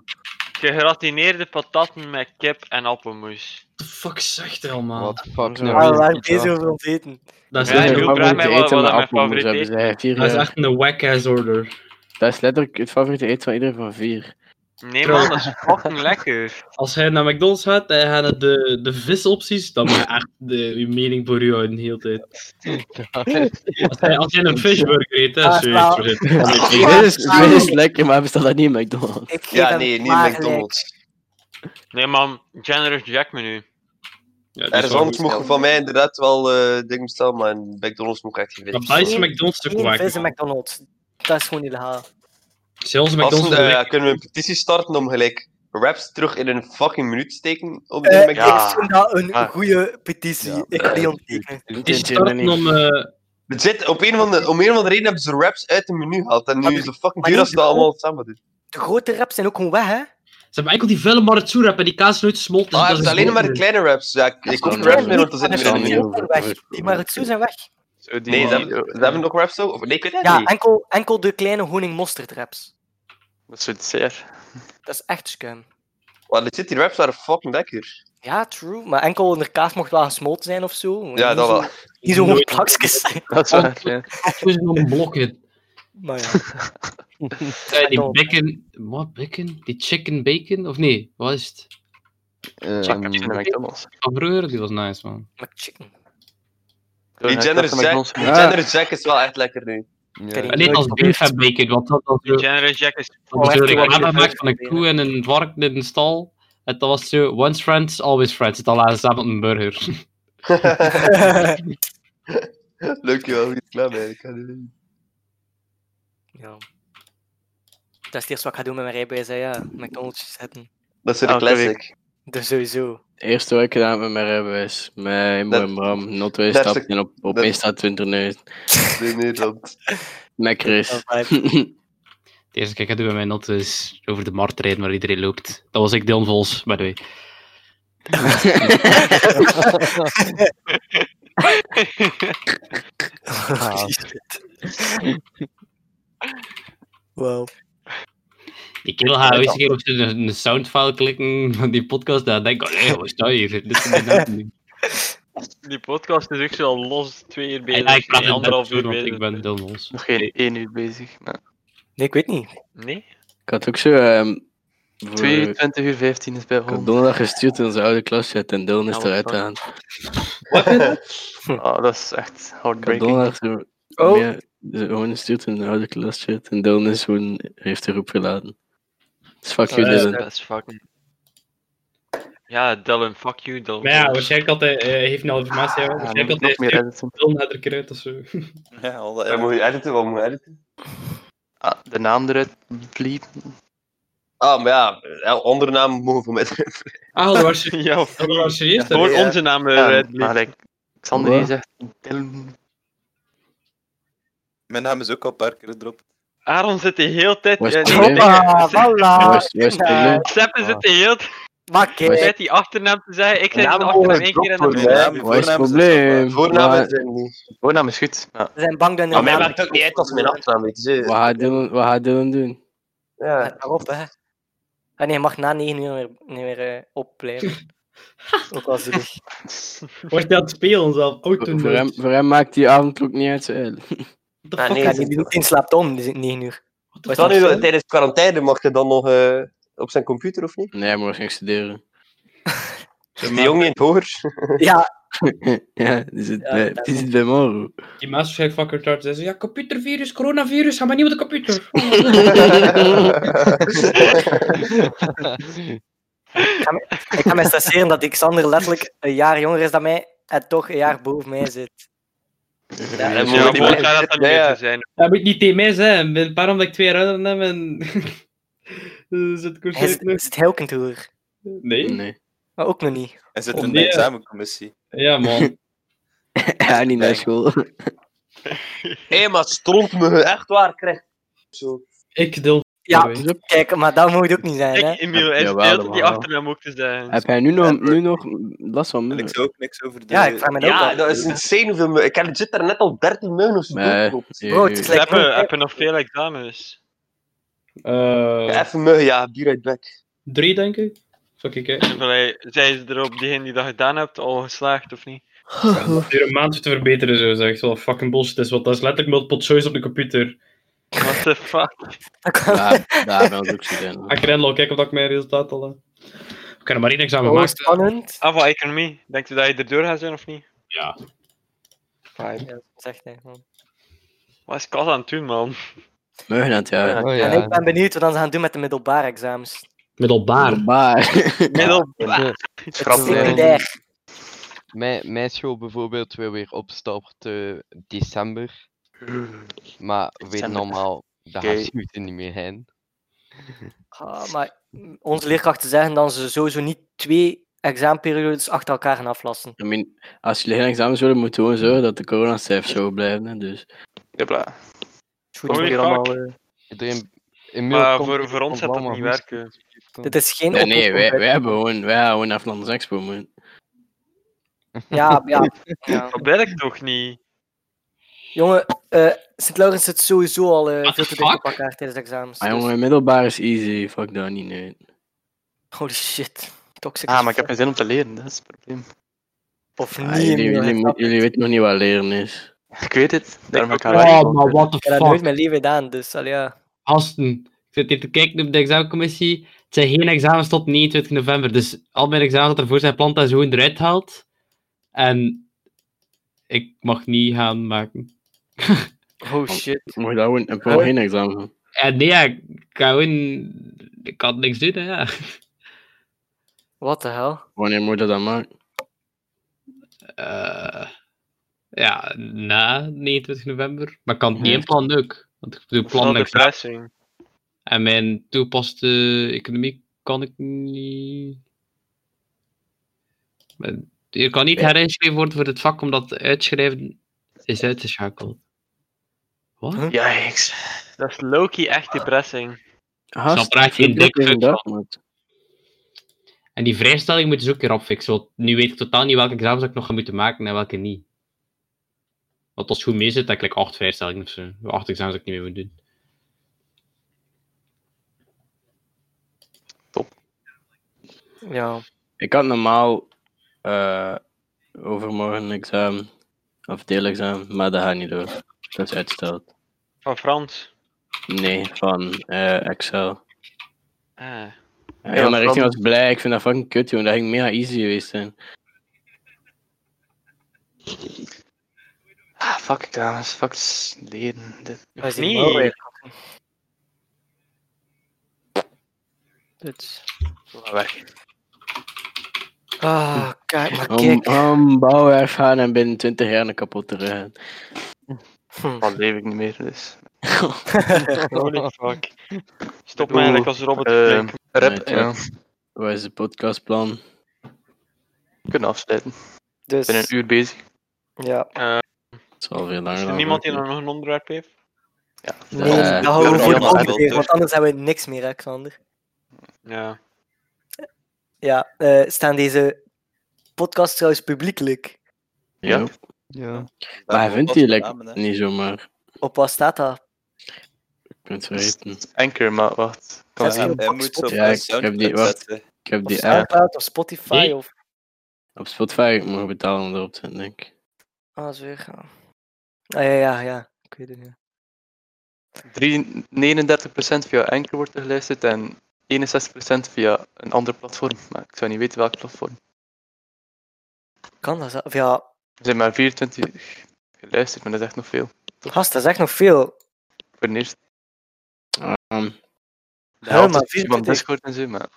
Speaker 2: Gegratineerde patatten met kip en appelmoes.
Speaker 8: What the fuck zegt hij allemaal?
Speaker 5: Wat fuck
Speaker 7: Ja,
Speaker 4: Ah,
Speaker 5: nou?
Speaker 4: we
Speaker 7: dat
Speaker 4: waren
Speaker 5: is niet
Speaker 4: bezig
Speaker 5: waar.
Speaker 4: over ons eten.
Speaker 8: Dat is,
Speaker 2: Ja,
Speaker 7: Zijn
Speaker 2: ik
Speaker 7: hun
Speaker 2: wil
Speaker 8: echt,
Speaker 2: vraag
Speaker 7: favoriete
Speaker 2: mij wel
Speaker 7: eten
Speaker 2: wat
Speaker 7: met
Speaker 2: mijn
Speaker 7: appelmoes
Speaker 2: favoriete
Speaker 7: hebben. Zij heeft hier,
Speaker 8: dat is
Speaker 7: eh,
Speaker 8: echt een whack-ass order.
Speaker 7: Dat is letterlijk het favoriete eten van iedereen van vier.
Speaker 2: Nee man, dat is fucking lekker.
Speaker 8: Als hij naar McDonald's gaat en hij gaat de, de visopties, dan moet je echt de, je mening voor u houden de hele tijd. Als hij, als hij een fishburger eet, hè,
Speaker 4: Ah,
Speaker 8: is zoiets
Speaker 4: wel.
Speaker 8: voor hem.
Speaker 7: Dit is, dit is lekker, maar bestaat dat niet in McDonald's?
Speaker 4: Ik geef
Speaker 6: Ja,
Speaker 4: hem
Speaker 6: nee, niet
Speaker 4: maar
Speaker 6: McDonald's.
Speaker 2: Nee man, Generous Jack menu.
Speaker 8: Ja, dat is
Speaker 6: Ergens
Speaker 8: wel
Speaker 6: anders
Speaker 8: goed.
Speaker 6: mogen van mij inderdaad wel eh dingen bestellen, maar in McDonald's moet ik echt geen
Speaker 8: Maar
Speaker 6: vlees
Speaker 8: bij zijn
Speaker 4: Nee,
Speaker 8: McDonald's is
Speaker 4: gelijk.
Speaker 8: ook
Speaker 4: Geen
Speaker 8: wack.
Speaker 4: vis in McDonald's. Dat is gewoon illegaal.
Speaker 8: Zelfs
Speaker 6: Gasten,
Speaker 8: McDonald's
Speaker 6: eh,
Speaker 8: is
Speaker 6: ja,
Speaker 8: wack.
Speaker 6: kunnen we een petitie starten om gelijk raps terug in een fucking minuut te steken op de
Speaker 4: Eh,
Speaker 6: McDonald's?
Speaker 4: Ik vind dat een
Speaker 1: Ah.
Speaker 4: goede petitie.
Speaker 5: Ja,
Speaker 4: ik ga die onttekenen.
Speaker 8: Het is starten om... eh,
Speaker 6: Legit, op een, van de, om een van de reden hebben ze raps uit het menu gehaald. En
Speaker 4: Maar
Speaker 6: nu
Speaker 4: die-
Speaker 6: is het fucking
Speaker 4: maar
Speaker 6: duur
Speaker 4: die-
Speaker 6: als ze dat allemaal samen doen.
Speaker 4: De grote raps zijn ook gewoon weg, hè?
Speaker 8: Ze hebben enkel die velle maratsoer en die kaas nooit gesmolten. dus
Speaker 6: Ah,
Speaker 8: dat
Speaker 6: hebben
Speaker 8: is
Speaker 6: ze alleen maar de
Speaker 8: beter.
Speaker 6: kleine raps. Ja, ik- ik
Speaker 7: is
Speaker 6: koop
Speaker 7: wel
Speaker 6: geen raps
Speaker 7: een-
Speaker 6: meer, want er zitten
Speaker 4: Maar
Speaker 6: meer in
Speaker 4: die
Speaker 6: de
Speaker 7: niet
Speaker 4: zijn
Speaker 6: menu.
Speaker 7: heel
Speaker 4: ook
Speaker 7: veel
Speaker 4: weg.
Speaker 7: voor-
Speaker 4: Die maritsoe zijn weg.
Speaker 1: Zo die-
Speaker 6: Nee, ze hebben, ze hebben nog raps zo? Of, nee, ik weet het
Speaker 4: Ja,
Speaker 6: niet.
Speaker 4: enkel, enkel de kleine honingmosterd raps.
Speaker 1: Dat is zo dessert.
Speaker 4: Dat is echt schuim.
Speaker 6: Maar legit, die raps waren fucking lekker.
Speaker 4: Ja, true. Maar enkel onder kaas mocht wel gesmolten zijn of zo.
Speaker 6: Ja,
Speaker 4: Niet
Speaker 6: dat
Speaker 4: zo-
Speaker 6: wel.
Speaker 4: Niet zo gewoon plakjes.
Speaker 1: Dat is waar, ja.
Speaker 8: Toen is nog een blokje.
Speaker 4: Maar ja.
Speaker 8: Eh, die
Speaker 4: McDonald's.
Speaker 8: bacon... Wat, bacon? Die chicken bacon? Of nee, wat is het?
Speaker 5: Eh,
Speaker 1: Check in de McDonald's.
Speaker 8: Van vroeger, die was nice, man.
Speaker 4: McChicken.
Speaker 6: Die Generous Jack, die
Speaker 7: Ja.
Speaker 6: Generous Jack is wel echt lekker nu.
Speaker 5: ja.
Speaker 8: Maar niet als beef en bacon, want dat was zo-
Speaker 2: Generous Jack is...
Speaker 8: dat was
Speaker 4: echt
Speaker 8: zo
Speaker 4: wel
Speaker 8: reclame
Speaker 4: lekker
Speaker 8: gemaakt van een
Speaker 4: bacon.
Speaker 8: koe en een vark in een stal. En dat was zo, once friends, always friends. Het al aan samen met een burger.
Speaker 6: Leuk je wel, goed klaar bij. Ik ga dit doen.
Speaker 4: ja. Dat is het eerste wat ik ga doen met mijn rijbewijs, hè, ja. McDonald's zetten.
Speaker 6: Dat is een
Speaker 1: Elke
Speaker 6: classic.
Speaker 4: Dus sowieso.
Speaker 7: Het eerste wat ik gedaan heb met mijn rijbewijs, met
Speaker 6: Dat-
Speaker 7: mijn Bram, not twee
Speaker 6: dat is
Speaker 7: stappen en op, op
Speaker 6: dat-
Speaker 7: één staat 20 neus.
Speaker 6: Nee, nee, dat.
Speaker 7: Met Chris.
Speaker 4: Dat is vibe.
Speaker 8: De eerste keer ik het doe bij mijn not is over de markt rijden waar iedereen loopt. Dat was ik Dylan Vols, by the way.
Speaker 6: Ah.
Speaker 4: Wow.
Speaker 8: Die kerel gaat ooit een keer op zijn een soundfile klikken van die podcast. Dan denk ik, oh nee, wat is dat hier? Dit is niet net-
Speaker 2: Die podcast is ook zo al los twee uur
Speaker 8: Ja, ik
Speaker 2: bezig.
Speaker 8: praat
Speaker 2: Nee,
Speaker 8: het
Speaker 2: anderhalf
Speaker 8: net
Speaker 2: uur
Speaker 8: zo, want ik
Speaker 2: bezig.
Speaker 8: ben Dylan Vols.
Speaker 1: Nog geen één uur bezig. Maar
Speaker 4: Nee, ik weet niet.
Speaker 2: Nee?
Speaker 7: ik had ook zo... ehm voor-
Speaker 1: 22 uur 15 is bij
Speaker 7: ik had
Speaker 1: home.
Speaker 7: donderdag gestuurd in onze oude klaschat en Dylan is
Speaker 1: Ja, wat
Speaker 7: eruit
Speaker 1: fuck.
Speaker 7: aan.
Speaker 1: Ah, dat is echt
Speaker 7: Ik had
Speaker 1: heartbreaking.
Speaker 7: donderdag zo...
Speaker 4: Oh.
Speaker 7: meer- zo gewoon gestuurd in de oude klaschat en Dylan is gewoon, heeft de roep geladen. Dus fuck you,
Speaker 1: Ah,
Speaker 2: Eh,
Speaker 7: Dylan.
Speaker 2: dat is fucking. Ja, Dylan, fuck you, Dylan.
Speaker 8: Maar ja, waarschijnlijk had hij, eh, heeft nu al informatie. hè. waarschijnlijk had
Speaker 1: Ah, nog meer
Speaker 8: hij stuurt
Speaker 1: editen.
Speaker 8: Dylan naar de kruid of zo.
Speaker 3: Ja, al dat
Speaker 6: Wat moet je editen? Wat moet je editen?
Speaker 1: Ah, de naam eruit bleepen.
Speaker 6: Ah, maar ja, ja, andere namen mogen voor mij zijn.
Speaker 8: Ah, dat was je.
Speaker 2: Ja,
Speaker 8: Dat was je eerst.
Speaker 2: Gewoon
Speaker 6: Ja.
Speaker 2: onze naam eh,
Speaker 1: Ja,
Speaker 2: eruit
Speaker 1: maar
Speaker 2: bleef.
Speaker 1: like, Ah, Xander die zegt Dylan.
Speaker 3: Mijn naam is ook al een paar keer gedropt.
Speaker 2: Aaron zit de hele tijd...
Speaker 7: Was
Speaker 2: eh,
Speaker 7: het
Speaker 2: nee,
Speaker 7: Dylan?
Speaker 2: nee,
Speaker 4: Hoppa, voilà.
Speaker 7: West, West,
Speaker 4: eh,
Speaker 7: Dylan.
Speaker 2: Seppen zit de hele tijd
Speaker 4: Maar kijk,
Speaker 2: met die achternaam te zeggen. Ik zei
Speaker 6: Namen
Speaker 2: de achternaam
Speaker 6: worden
Speaker 2: één keer en dan...
Speaker 6: gedropt worden.
Speaker 3: Mijn naam,
Speaker 6: Ja,
Speaker 7: Wat is het
Speaker 3: voornaam is
Speaker 7: probleem?
Speaker 6: Voornamen
Speaker 7: Wat
Speaker 6: zijn niet.
Speaker 1: Voornaam is goed. maar
Speaker 4: we zijn bang dat
Speaker 6: Maar mij
Speaker 4: er
Speaker 6: maakt ook niet uit als mijn achternaam weet je.
Speaker 7: wat gaat Dylan- wat gaat Dylan doen?
Speaker 6: Ja.
Speaker 4: Let maar op, hè. Ah, nee, je mag na 9 uur niet meer, niet meer eh,
Speaker 6: Ah,
Speaker 4: opblijven. Ook al zielig.
Speaker 8: Was je aan het spelen zelf? Oh, toen
Speaker 7: Voor hem,
Speaker 8: nooit.
Speaker 7: voor hem maakt die avondklok niet uit. eh.
Speaker 8: What the
Speaker 6: Ah,
Speaker 8: fuck?
Speaker 6: nee,
Speaker 4: Ja,
Speaker 6: dat
Speaker 4: die die meteen slaapt om, die zit 9 uur.
Speaker 8: Wat
Speaker 6: Dan
Speaker 8: is
Speaker 6: nu,
Speaker 8: dat?
Speaker 6: tijdens quarantaine mag je dan nog eh, op zijn computer of niet?
Speaker 7: Nee, maar we gaan studeren.
Speaker 6: Is die jongen in het hoger?
Speaker 4: Ja,
Speaker 7: ja, die zit,
Speaker 4: Ja,
Speaker 7: bij,
Speaker 4: dat
Speaker 7: die zit bij Moro.
Speaker 8: Die maas waarschijnlijk fucking retard. Ze zeggen, ja, computervirus, coronavirus, ga maar niet op de computer.
Speaker 4: ik ga me stresseren dat Xander letterlijk een jaar jonger is dan mij en toch een jaar boven mij zit.
Speaker 6: Ja, dat
Speaker 2: Ja,
Speaker 6: moet
Speaker 2: gewoon
Speaker 6: niet
Speaker 2: daar dat dan
Speaker 6: Ja,
Speaker 2: meer
Speaker 6: ja.
Speaker 2: te zijn.
Speaker 8: Dat moet niet tegen mij zijn. Ik ben een paar omdat ik twee jaar ouder ben en... Dus het koers
Speaker 4: Hij zit,
Speaker 8: nog.
Speaker 4: zit hij ook een toer?
Speaker 8: Nee?
Speaker 7: Nee.
Speaker 4: Maar ook nog niet.
Speaker 3: En zit
Speaker 8: Oh,
Speaker 3: in de
Speaker 8: nee.
Speaker 3: examencommissie.
Speaker 8: Ja, man.
Speaker 7: Ja, niet naar school.
Speaker 6: Hé, maar stront me echt waar, krijg. Zo.
Speaker 8: Ik deel.
Speaker 4: Ja,
Speaker 8: Sorry.
Speaker 4: kijk, maar dat moet het ook niet zijn,
Speaker 2: Kijk,
Speaker 4: hè.
Speaker 2: Emiel, hij zit de
Speaker 7: Jawel,
Speaker 2: hele tijd die
Speaker 7: jawel.
Speaker 2: achternaam ook te zeggen.
Speaker 7: Heb jij nu nog, nu nog last van
Speaker 3: En ik
Speaker 7: muren?
Speaker 3: zei ook niks over de...
Speaker 4: Ja, ik vraag me dat ook
Speaker 6: Ja,
Speaker 4: af.
Speaker 6: eh, dat is insane hoeveel me- Ik heb legit daar net al 13 miljoen of zo
Speaker 7: Nee.
Speaker 6: doorgeklopt.
Speaker 7: Je-
Speaker 4: Bro, het
Speaker 7: je-
Speaker 4: is
Speaker 2: Ze
Speaker 4: like-
Speaker 2: hebben, hebben nog veel examens.
Speaker 8: Eh,
Speaker 6: Ja, Even muggen, ja, be right back.
Speaker 8: drie, denk ik. Fuck ik, hè.
Speaker 2: Van, hey, Zijn ze er op diegene die dat gedaan hebt al geslaagd of niet?
Speaker 8: Het duurt een maand te verbeteren, zo. Dat is echt wel fucking bullshit. is, want dat is letterlijk multiple choice op de computer.
Speaker 2: What the fuck?
Speaker 7: Ja, ja, bij ons ook studeren.
Speaker 8: Ga ik erin loggen, kijken of dat ik mijn resultaat al heb. Ik kan er maar één examen
Speaker 4: Oh,
Speaker 8: maken.
Speaker 4: spannend.
Speaker 2: Ah, wat economie. Denkt u dat je erdoor gaat zijn of niet?
Speaker 8: Ja.
Speaker 4: Ja, zegt hij. man.
Speaker 2: Wat is Kas aan het doen, man?
Speaker 7: Muggen aan het jagen.
Speaker 5: Oh
Speaker 4: En ik
Speaker 5: ja.
Speaker 4: ben benieuwd wat ze gaan doen met de middelbare examens.
Speaker 8: Middelbaar.
Speaker 7: Maar.
Speaker 2: Middel.
Speaker 1: Schrap
Speaker 4: Het is
Speaker 1: erin.
Speaker 4: secundair.
Speaker 5: Mijn, mijn school bijvoorbeeld wil weer opstarten december. Maar weet
Speaker 1: December.
Speaker 5: normaal, daar
Speaker 1: Oké.
Speaker 5: gaan ze niet meer heen.
Speaker 4: Ah, maar onze leerkrachten zeggen dat ze sowieso niet twee examenperiodes achter elkaar gaan aflassen.
Speaker 7: I mean, als jullie geen examens willen, moeten we gewoon zorgen dat de coronacijfers zo blijven. Hè, dus.
Speaker 1: Hopla.
Speaker 4: Is goed,
Speaker 1: Kom
Speaker 2: Holy
Speaker 1: hier
Speaker 2: fuck.
Speaker 1: allemaal. eh,
Speaker 5: Iedereen, Emiel
Speaker 2: Maar
Speaker 5: komt
Speaker 2: voor,
Speaker 5: hier
Speaker 2: voor ons
Speaker 5: van
Speaker 2: gaat dat
Speaker 5: Blamma
Speaker 2: niet
Speaker 5: Hoes.
Speaker 2: werken.
Speaker 4: Dit is geen
Speaker 7: Ja, nee,
Speaker 4: oplossing
Speaker 7: wij, Dus
Speaker 4: bij-
Speaker 7: wij hebben gewoon, wij gaan gewoon naar Vlaanders Expo, man.
Speaker 4: Ja, ja. ja.
Speaker 2: Dat werkt toch niet?
Speaker 4: Jongen, eh, Sint-Laurens zit sowieso al eh, veel te dicht op elkaar tijdens de examens.
Speaker 7: Ah,
Speaker 4: dus-
Speaker 7: jongen, middelbaar is easy. Fuck dat niet, nee.
Speaker 4: Holy shit. Toxic.
Speaker 1: Ah,
Speaker 4: as
Speaker 1: maar ik heb
Speaker 4: fuck.
Speaker 1: geen zin om te leren, dat is het probleem.
Speaker 4: Of
Speaker 7: Ah,
Speaker 4: niet.
Speaker 7: jullie,
Speaker 4: jongen,
Speaker 7: jullie,
Speaker 4: ik
Speaker 7: moet-
Speaker 4: snap
Speaker 7: jullie weten nog niet wat leren is.
Speaker 1: Ik weet het, daarom heb ik haar
Speaker 8: Oh,
Speaker 1: uitgekozen.
Speaker 8: maar what the
Speaker 4: Ik heb dat nooit
Speaker 8: fuck.
Speaker 4: mijn leven gedaan, dus allee, ja.
Speaker 8: Hasten. Ik zit hier te kijken op de examencommissie. Het zijn geen examens tot 29 november. Dus al mijn examens dat ervoor zijn plant dat is gewoon eruit haalt. En ik mag niet gaan maken.
Speaker 4: Oh shit.
Speaker 7: Moet je daar gewoon, heb je gewoon geen examen van.
Speaker 8: En Eh, nee, ja, ik kan gewoon... Ik kan niks doen, hè, ja.
Speaker 4: What the hell?
Speaker 7: Wanneer moet je dat dan maken?
Speaker 8: Eh, ja, na 29 november. Maar ik kan het niet
Speaker 7: Ja.
Speaker 8: inplannen ook. Want ik doe
Speaker 2: Dat
Speaker 8: plan
Speaker 2: is
Speaker 8: mijn examen.
Speaker 2: depressing.
Speaker 8: En mijn toepaste economie kan ik niet. Men- Je kan niet herinschreven worden voor het vak omdat uitschrijven is uitgeschakeld. Wat?
Speaker 4: Huh?
Speaker 1: Ja, ik-
Speaker 2: Dat is Loki echt depressing.
Speaker 7: Gast,
Speaker 8: praat je
Speaker 7: ik
Speaker 8: een
Speaker 7: weet
Speaker 8: dik
Speaker 7: nog
Speaker 8: fuck
Speaker 7: geen dag, man.
Speaker 8: En die vrijstelling moeten ze ook weer opfixen. Want nu weet ik totaal niet welke examens ik nog ga moeten maken en welke niet. Want als het goed mee zit, dan krijg ik acht vrijstellingen of zo. Acht examens dat ik niet meer moet doen.
Speaker 4: Ja.
Speaker 7: Ik had normaal eh, overmorgen een examen, of deelexamen, maar dat gaat niet door. Dat is uitgesteld.
Speaker 2: Van Frans.
Speaker 7: Nee, van eh, Excel.
Speaker 2: Ah.
Speaker 7: Ja,
Speaker 1: Ja,
Speaker 7: maar richting
Speaker 1: Frans.
Speaker 7: was blij, ik vind dat fucking kut, joh. Dat ging mega easy geweest zijn.
Speaker 1: Ah, fuck examens, fuck s- leren. Dit.
Speaker 4: Hij is
Speaker 2: Nee.
Speaker 4: hier wel weer.
Speaker 7: Dit.
Speaker 1: Weg.
Speaker 4: Ah, kijk maar,
Speaker 7: Om, Ah.
Speaker 4: kijk.
Speaker 7: om bouwwerf gaan en binnen 20 jaar een kapot te rijden.
Speaker 4: Hm.
Speaker 1: Dan leef ik niet meer, dus.
Speaker 2: Holy fuck. Stop me eigenlijk als Robert te
Speaker 1: Eh,
Speaker 2: klinken.
Speaker 7: Nee,
Speaker 1: rap,
Speaker 7: toch.
Speaker 1: ja.
Speaker 7: Wat is het podcastplan?
Speaker 1: We kunnen afsluiten. We
Speaker 4: Dus,
Speaker 1: zijn een uur bezig.
Speaker 4: ja.
Speaker 2: Eh,
Speaker 7: Het zal veel
Speaker 2: is
Speaker 7: langer
Speaker 2: er
Speaker 7: dan.
Speaker 2: niemand die nog een onderwerp heeft?
Speaker 4: Nee,
Speaker 7: Eh,
Speaker 4: dat houden we
Speaker 3: ja,
Speaker 4: voor de
Speaker 3: ja,
Speaker 4: andere
Speaker 3: wel,
Speaker 4: keer,
Speaker 3: toch?
Speaker 4: want anders hebben we niks meer, Alexander.
Speaker 2: Ja.
Speaker 4: Ja, eh, staan deze podcasts trouwens publiekelijk?
Speaker 1: Ja.
Speaker 7: Ja. Maar hij vindt die like,
Speaker 3: Nee.
Speaker 7: niet zomaar.
Speaker 4: Op wat staat dat?
Speaker 7: Ik ben het vergeten.
Speaker 1: Anchor, maar wacht. Kan
Speaker 4: Dat is
Speaker 1: het
Speaker 4: heel
Speaker 1: niet.
Speaker 3: Hij
Speaker 4: box
Speaker 3: moet ze op
Speaker 7: Ja,
Speaker 3: eh,
Speaker 7: ik heb die-
Speaker 3: Soundcloud
Speaker 7: wacht.
Speaker 3: zetten.
Speaker 7: Ik heb
Speaker 4: Of
Speaker 7: die app
Speaker 4: Soundcloud of Spotify
Speaker 9: Nee.
Speaker 4: of...
Speaker 7: op Spotify. Ik mag betalen om erop te zetten, denk ik.
Speaker 4: Ah, zweer. ja. Ah, ja, ja, ja. Ik weet het niet.
Speaker 1: Drie- 39% via Anchor wordt er geluisterd en 61% via een ander platform. Maar ik zou niet weten welk platform.
Speaker 4: Kan dat? zo- Of ja,
Speaker 1: Er zijn maar 24 geluisterd, maar dat is echt nog veel.
Speaker 4: gast, dat is echt nog veel.
Speaker 1: Voor de eerste.
Speaker 7: Ehm,
Speaker 1: De helft
Speaker 4: maar
Speaker 1: is iemand
Speaker 4: 24.
Speaker 1: Discord en zo, maar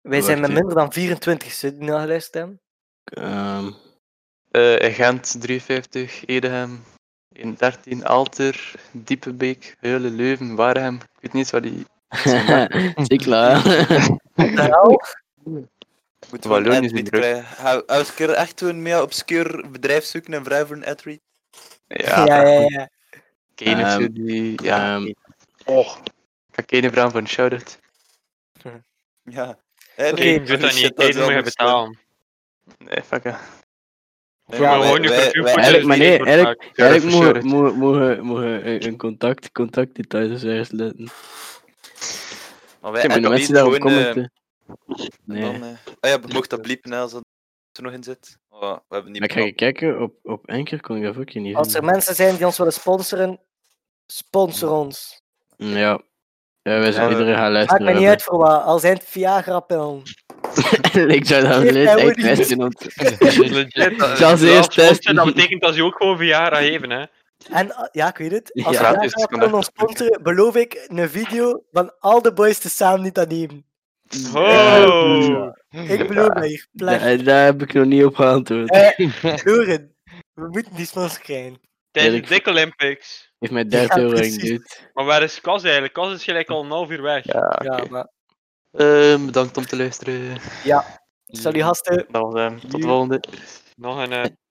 Speaker 4: Wij zijn met
Speaker 7: Wacht,
Speaker 4: minder dan 24 zullen die nageluisterd hebben.
Speaker 7: ehm,
Speaker 1: Eh, in Gent 53, Edegem, in 13 Alter, Diepenbeek, Heulen, Leuven, Waregem. Ik weet niet eens waar die.
Speaker 7: Zie klaar.
Speaker 4: Nou,
Speaker 3: Moeten we
Speaker 1: Wallonië
Speaker 3: een
Speaker 1: is
Speaker 3: ad-read
Speaker 1: niet druk.
Speaker 3: krijgen. Hou- Als ik er echt een meer obscuur bedrijf zoeken en vragen voor een ad-read.
Speaker 1: Ja,
Speaker 4: ja, ja, ja. ja.
Speaker 1: Kane of zo,
Speaker 7: Ehm,
Speaker 1: die. Ja,
Speaker 7: Ehm,
Speaker 1: oh. Ik ga Kane vragen voor een shout-out.
Speaker 3: Ja. Eh,
Speaker 4: Oké,
Speaker 2: Nee, ik doe dat
Speaker 3: shit,
Speaker 2: niet.
Speaker 3: is
Speaker 2: Deze moet
Speaker 3: wel
Speaker 2: je
Speaker 3: obscuur.
Speaker 2: betalen.
Speaker 1: Nee, fuck ja.
Speaker 3: Nee,
Speaker 4: Ja,
Speaker 3: maar
Speaker 2: gewoon je
Speaker 3: wij- wij-
Speaker 2: cultuur
Speaker 3: wij-
Speaker 2: voeden.
Speaker 7: Eigenlijk, maar nee,
Speaker 2: Discord
Speaker 7: eigenlijk,
Speaker 1: maken.
Speaker 7: eigenlijk
Speaker 1: Ja, dat
Speaker 7: moet-
Speaker 1: is
Speaker 7: moet- moet- moet een een contact, contactdetails dus eerst letten.
Speaker 3: maar wij-
Speaker 7: Kunnen
Speaker 3: en
Speaker 7: mensen
Speaker 3: dan
Speaker 7: daarop
Speaker 3: gewoon, eh,
Speaker 7: commenten? Nee.
Speaker 3: Dan, eh, ah ja, mocht dat bliepen hè, als dat er nog in zit. Oh, we hebben niet
Speaker 7: Maar ik ga kijken, op, op Anchor kon ik dat ook niet
Speaker 4: Als er
Speaker 7: zien.
Speaker 4: mensen zijn die ons willen sponsoren, sponsor ons.
Speaker 7: Mm, Ja. Ja, wij zijn
Speaker 1: Ja,
Speaker 7: iedereen gaan
Speaker 4: Maakt
Speaker 7: luisteren.
Speaker 4: mij niet uit voor wat, al zijn het Viagra-pillen.
Speaker 7: ik zou dat
Speaker 4: Geef
Speaker 7: lees
Speaker 4: mij
Speaker 7: echt
Speaker 4: Woody.
Speaker 7: testen om te-
Speaker 2: Legit.
Speaker 7: Ik zal ze
Speaker 2: Als
Speaker 7: eerst
Speaker 2: sponsor, Dat
Speaker 7: testen.
Speaker 2: betekent dat je ook gewoon Viagra geven, hè.
Speaker 4: En eh, ja, ik weet het. Als
Speaker 7: Ja,
Speaker 1: gratis, kan
Speaker 4: Viagra-pillen
Speaker 1: dat
Speaker 4: ons sponsoren, beloof ik een video van al de boys te samen niet aan nemen.
Speaker 2: Oh!
Speaker 4: Ik beloof dat hier. Plek.
Speaker 7: Daar, daar heb ik nog niet op geantwoord.
Speaker 4: Eh, Doren, we moeten die sponsor krijgen.
Speaker 2: Tijdens
Speaker 7: Eerlijk-
Speaker 2: de Dick Olympics.
Speaker 7: Heeft mij 30
Speaker 4: Ja,
Speaker 7: euro
Speaker 4: precies.
Speaker 7: geduwd.
Speaker 2: Maar waar is Kas eigenlijk? Kas is gelijk al een half uur weg.
Speaker 1: Ja, oké.
Speaker 4: Ja, maar...
Speaker 1: Ehm, bedankt om te luisteren.
Speaker 4: Salut gasten.
Speaker 1: Dat was hem. Tot de volgende.
Speaker 2: Nog een eh,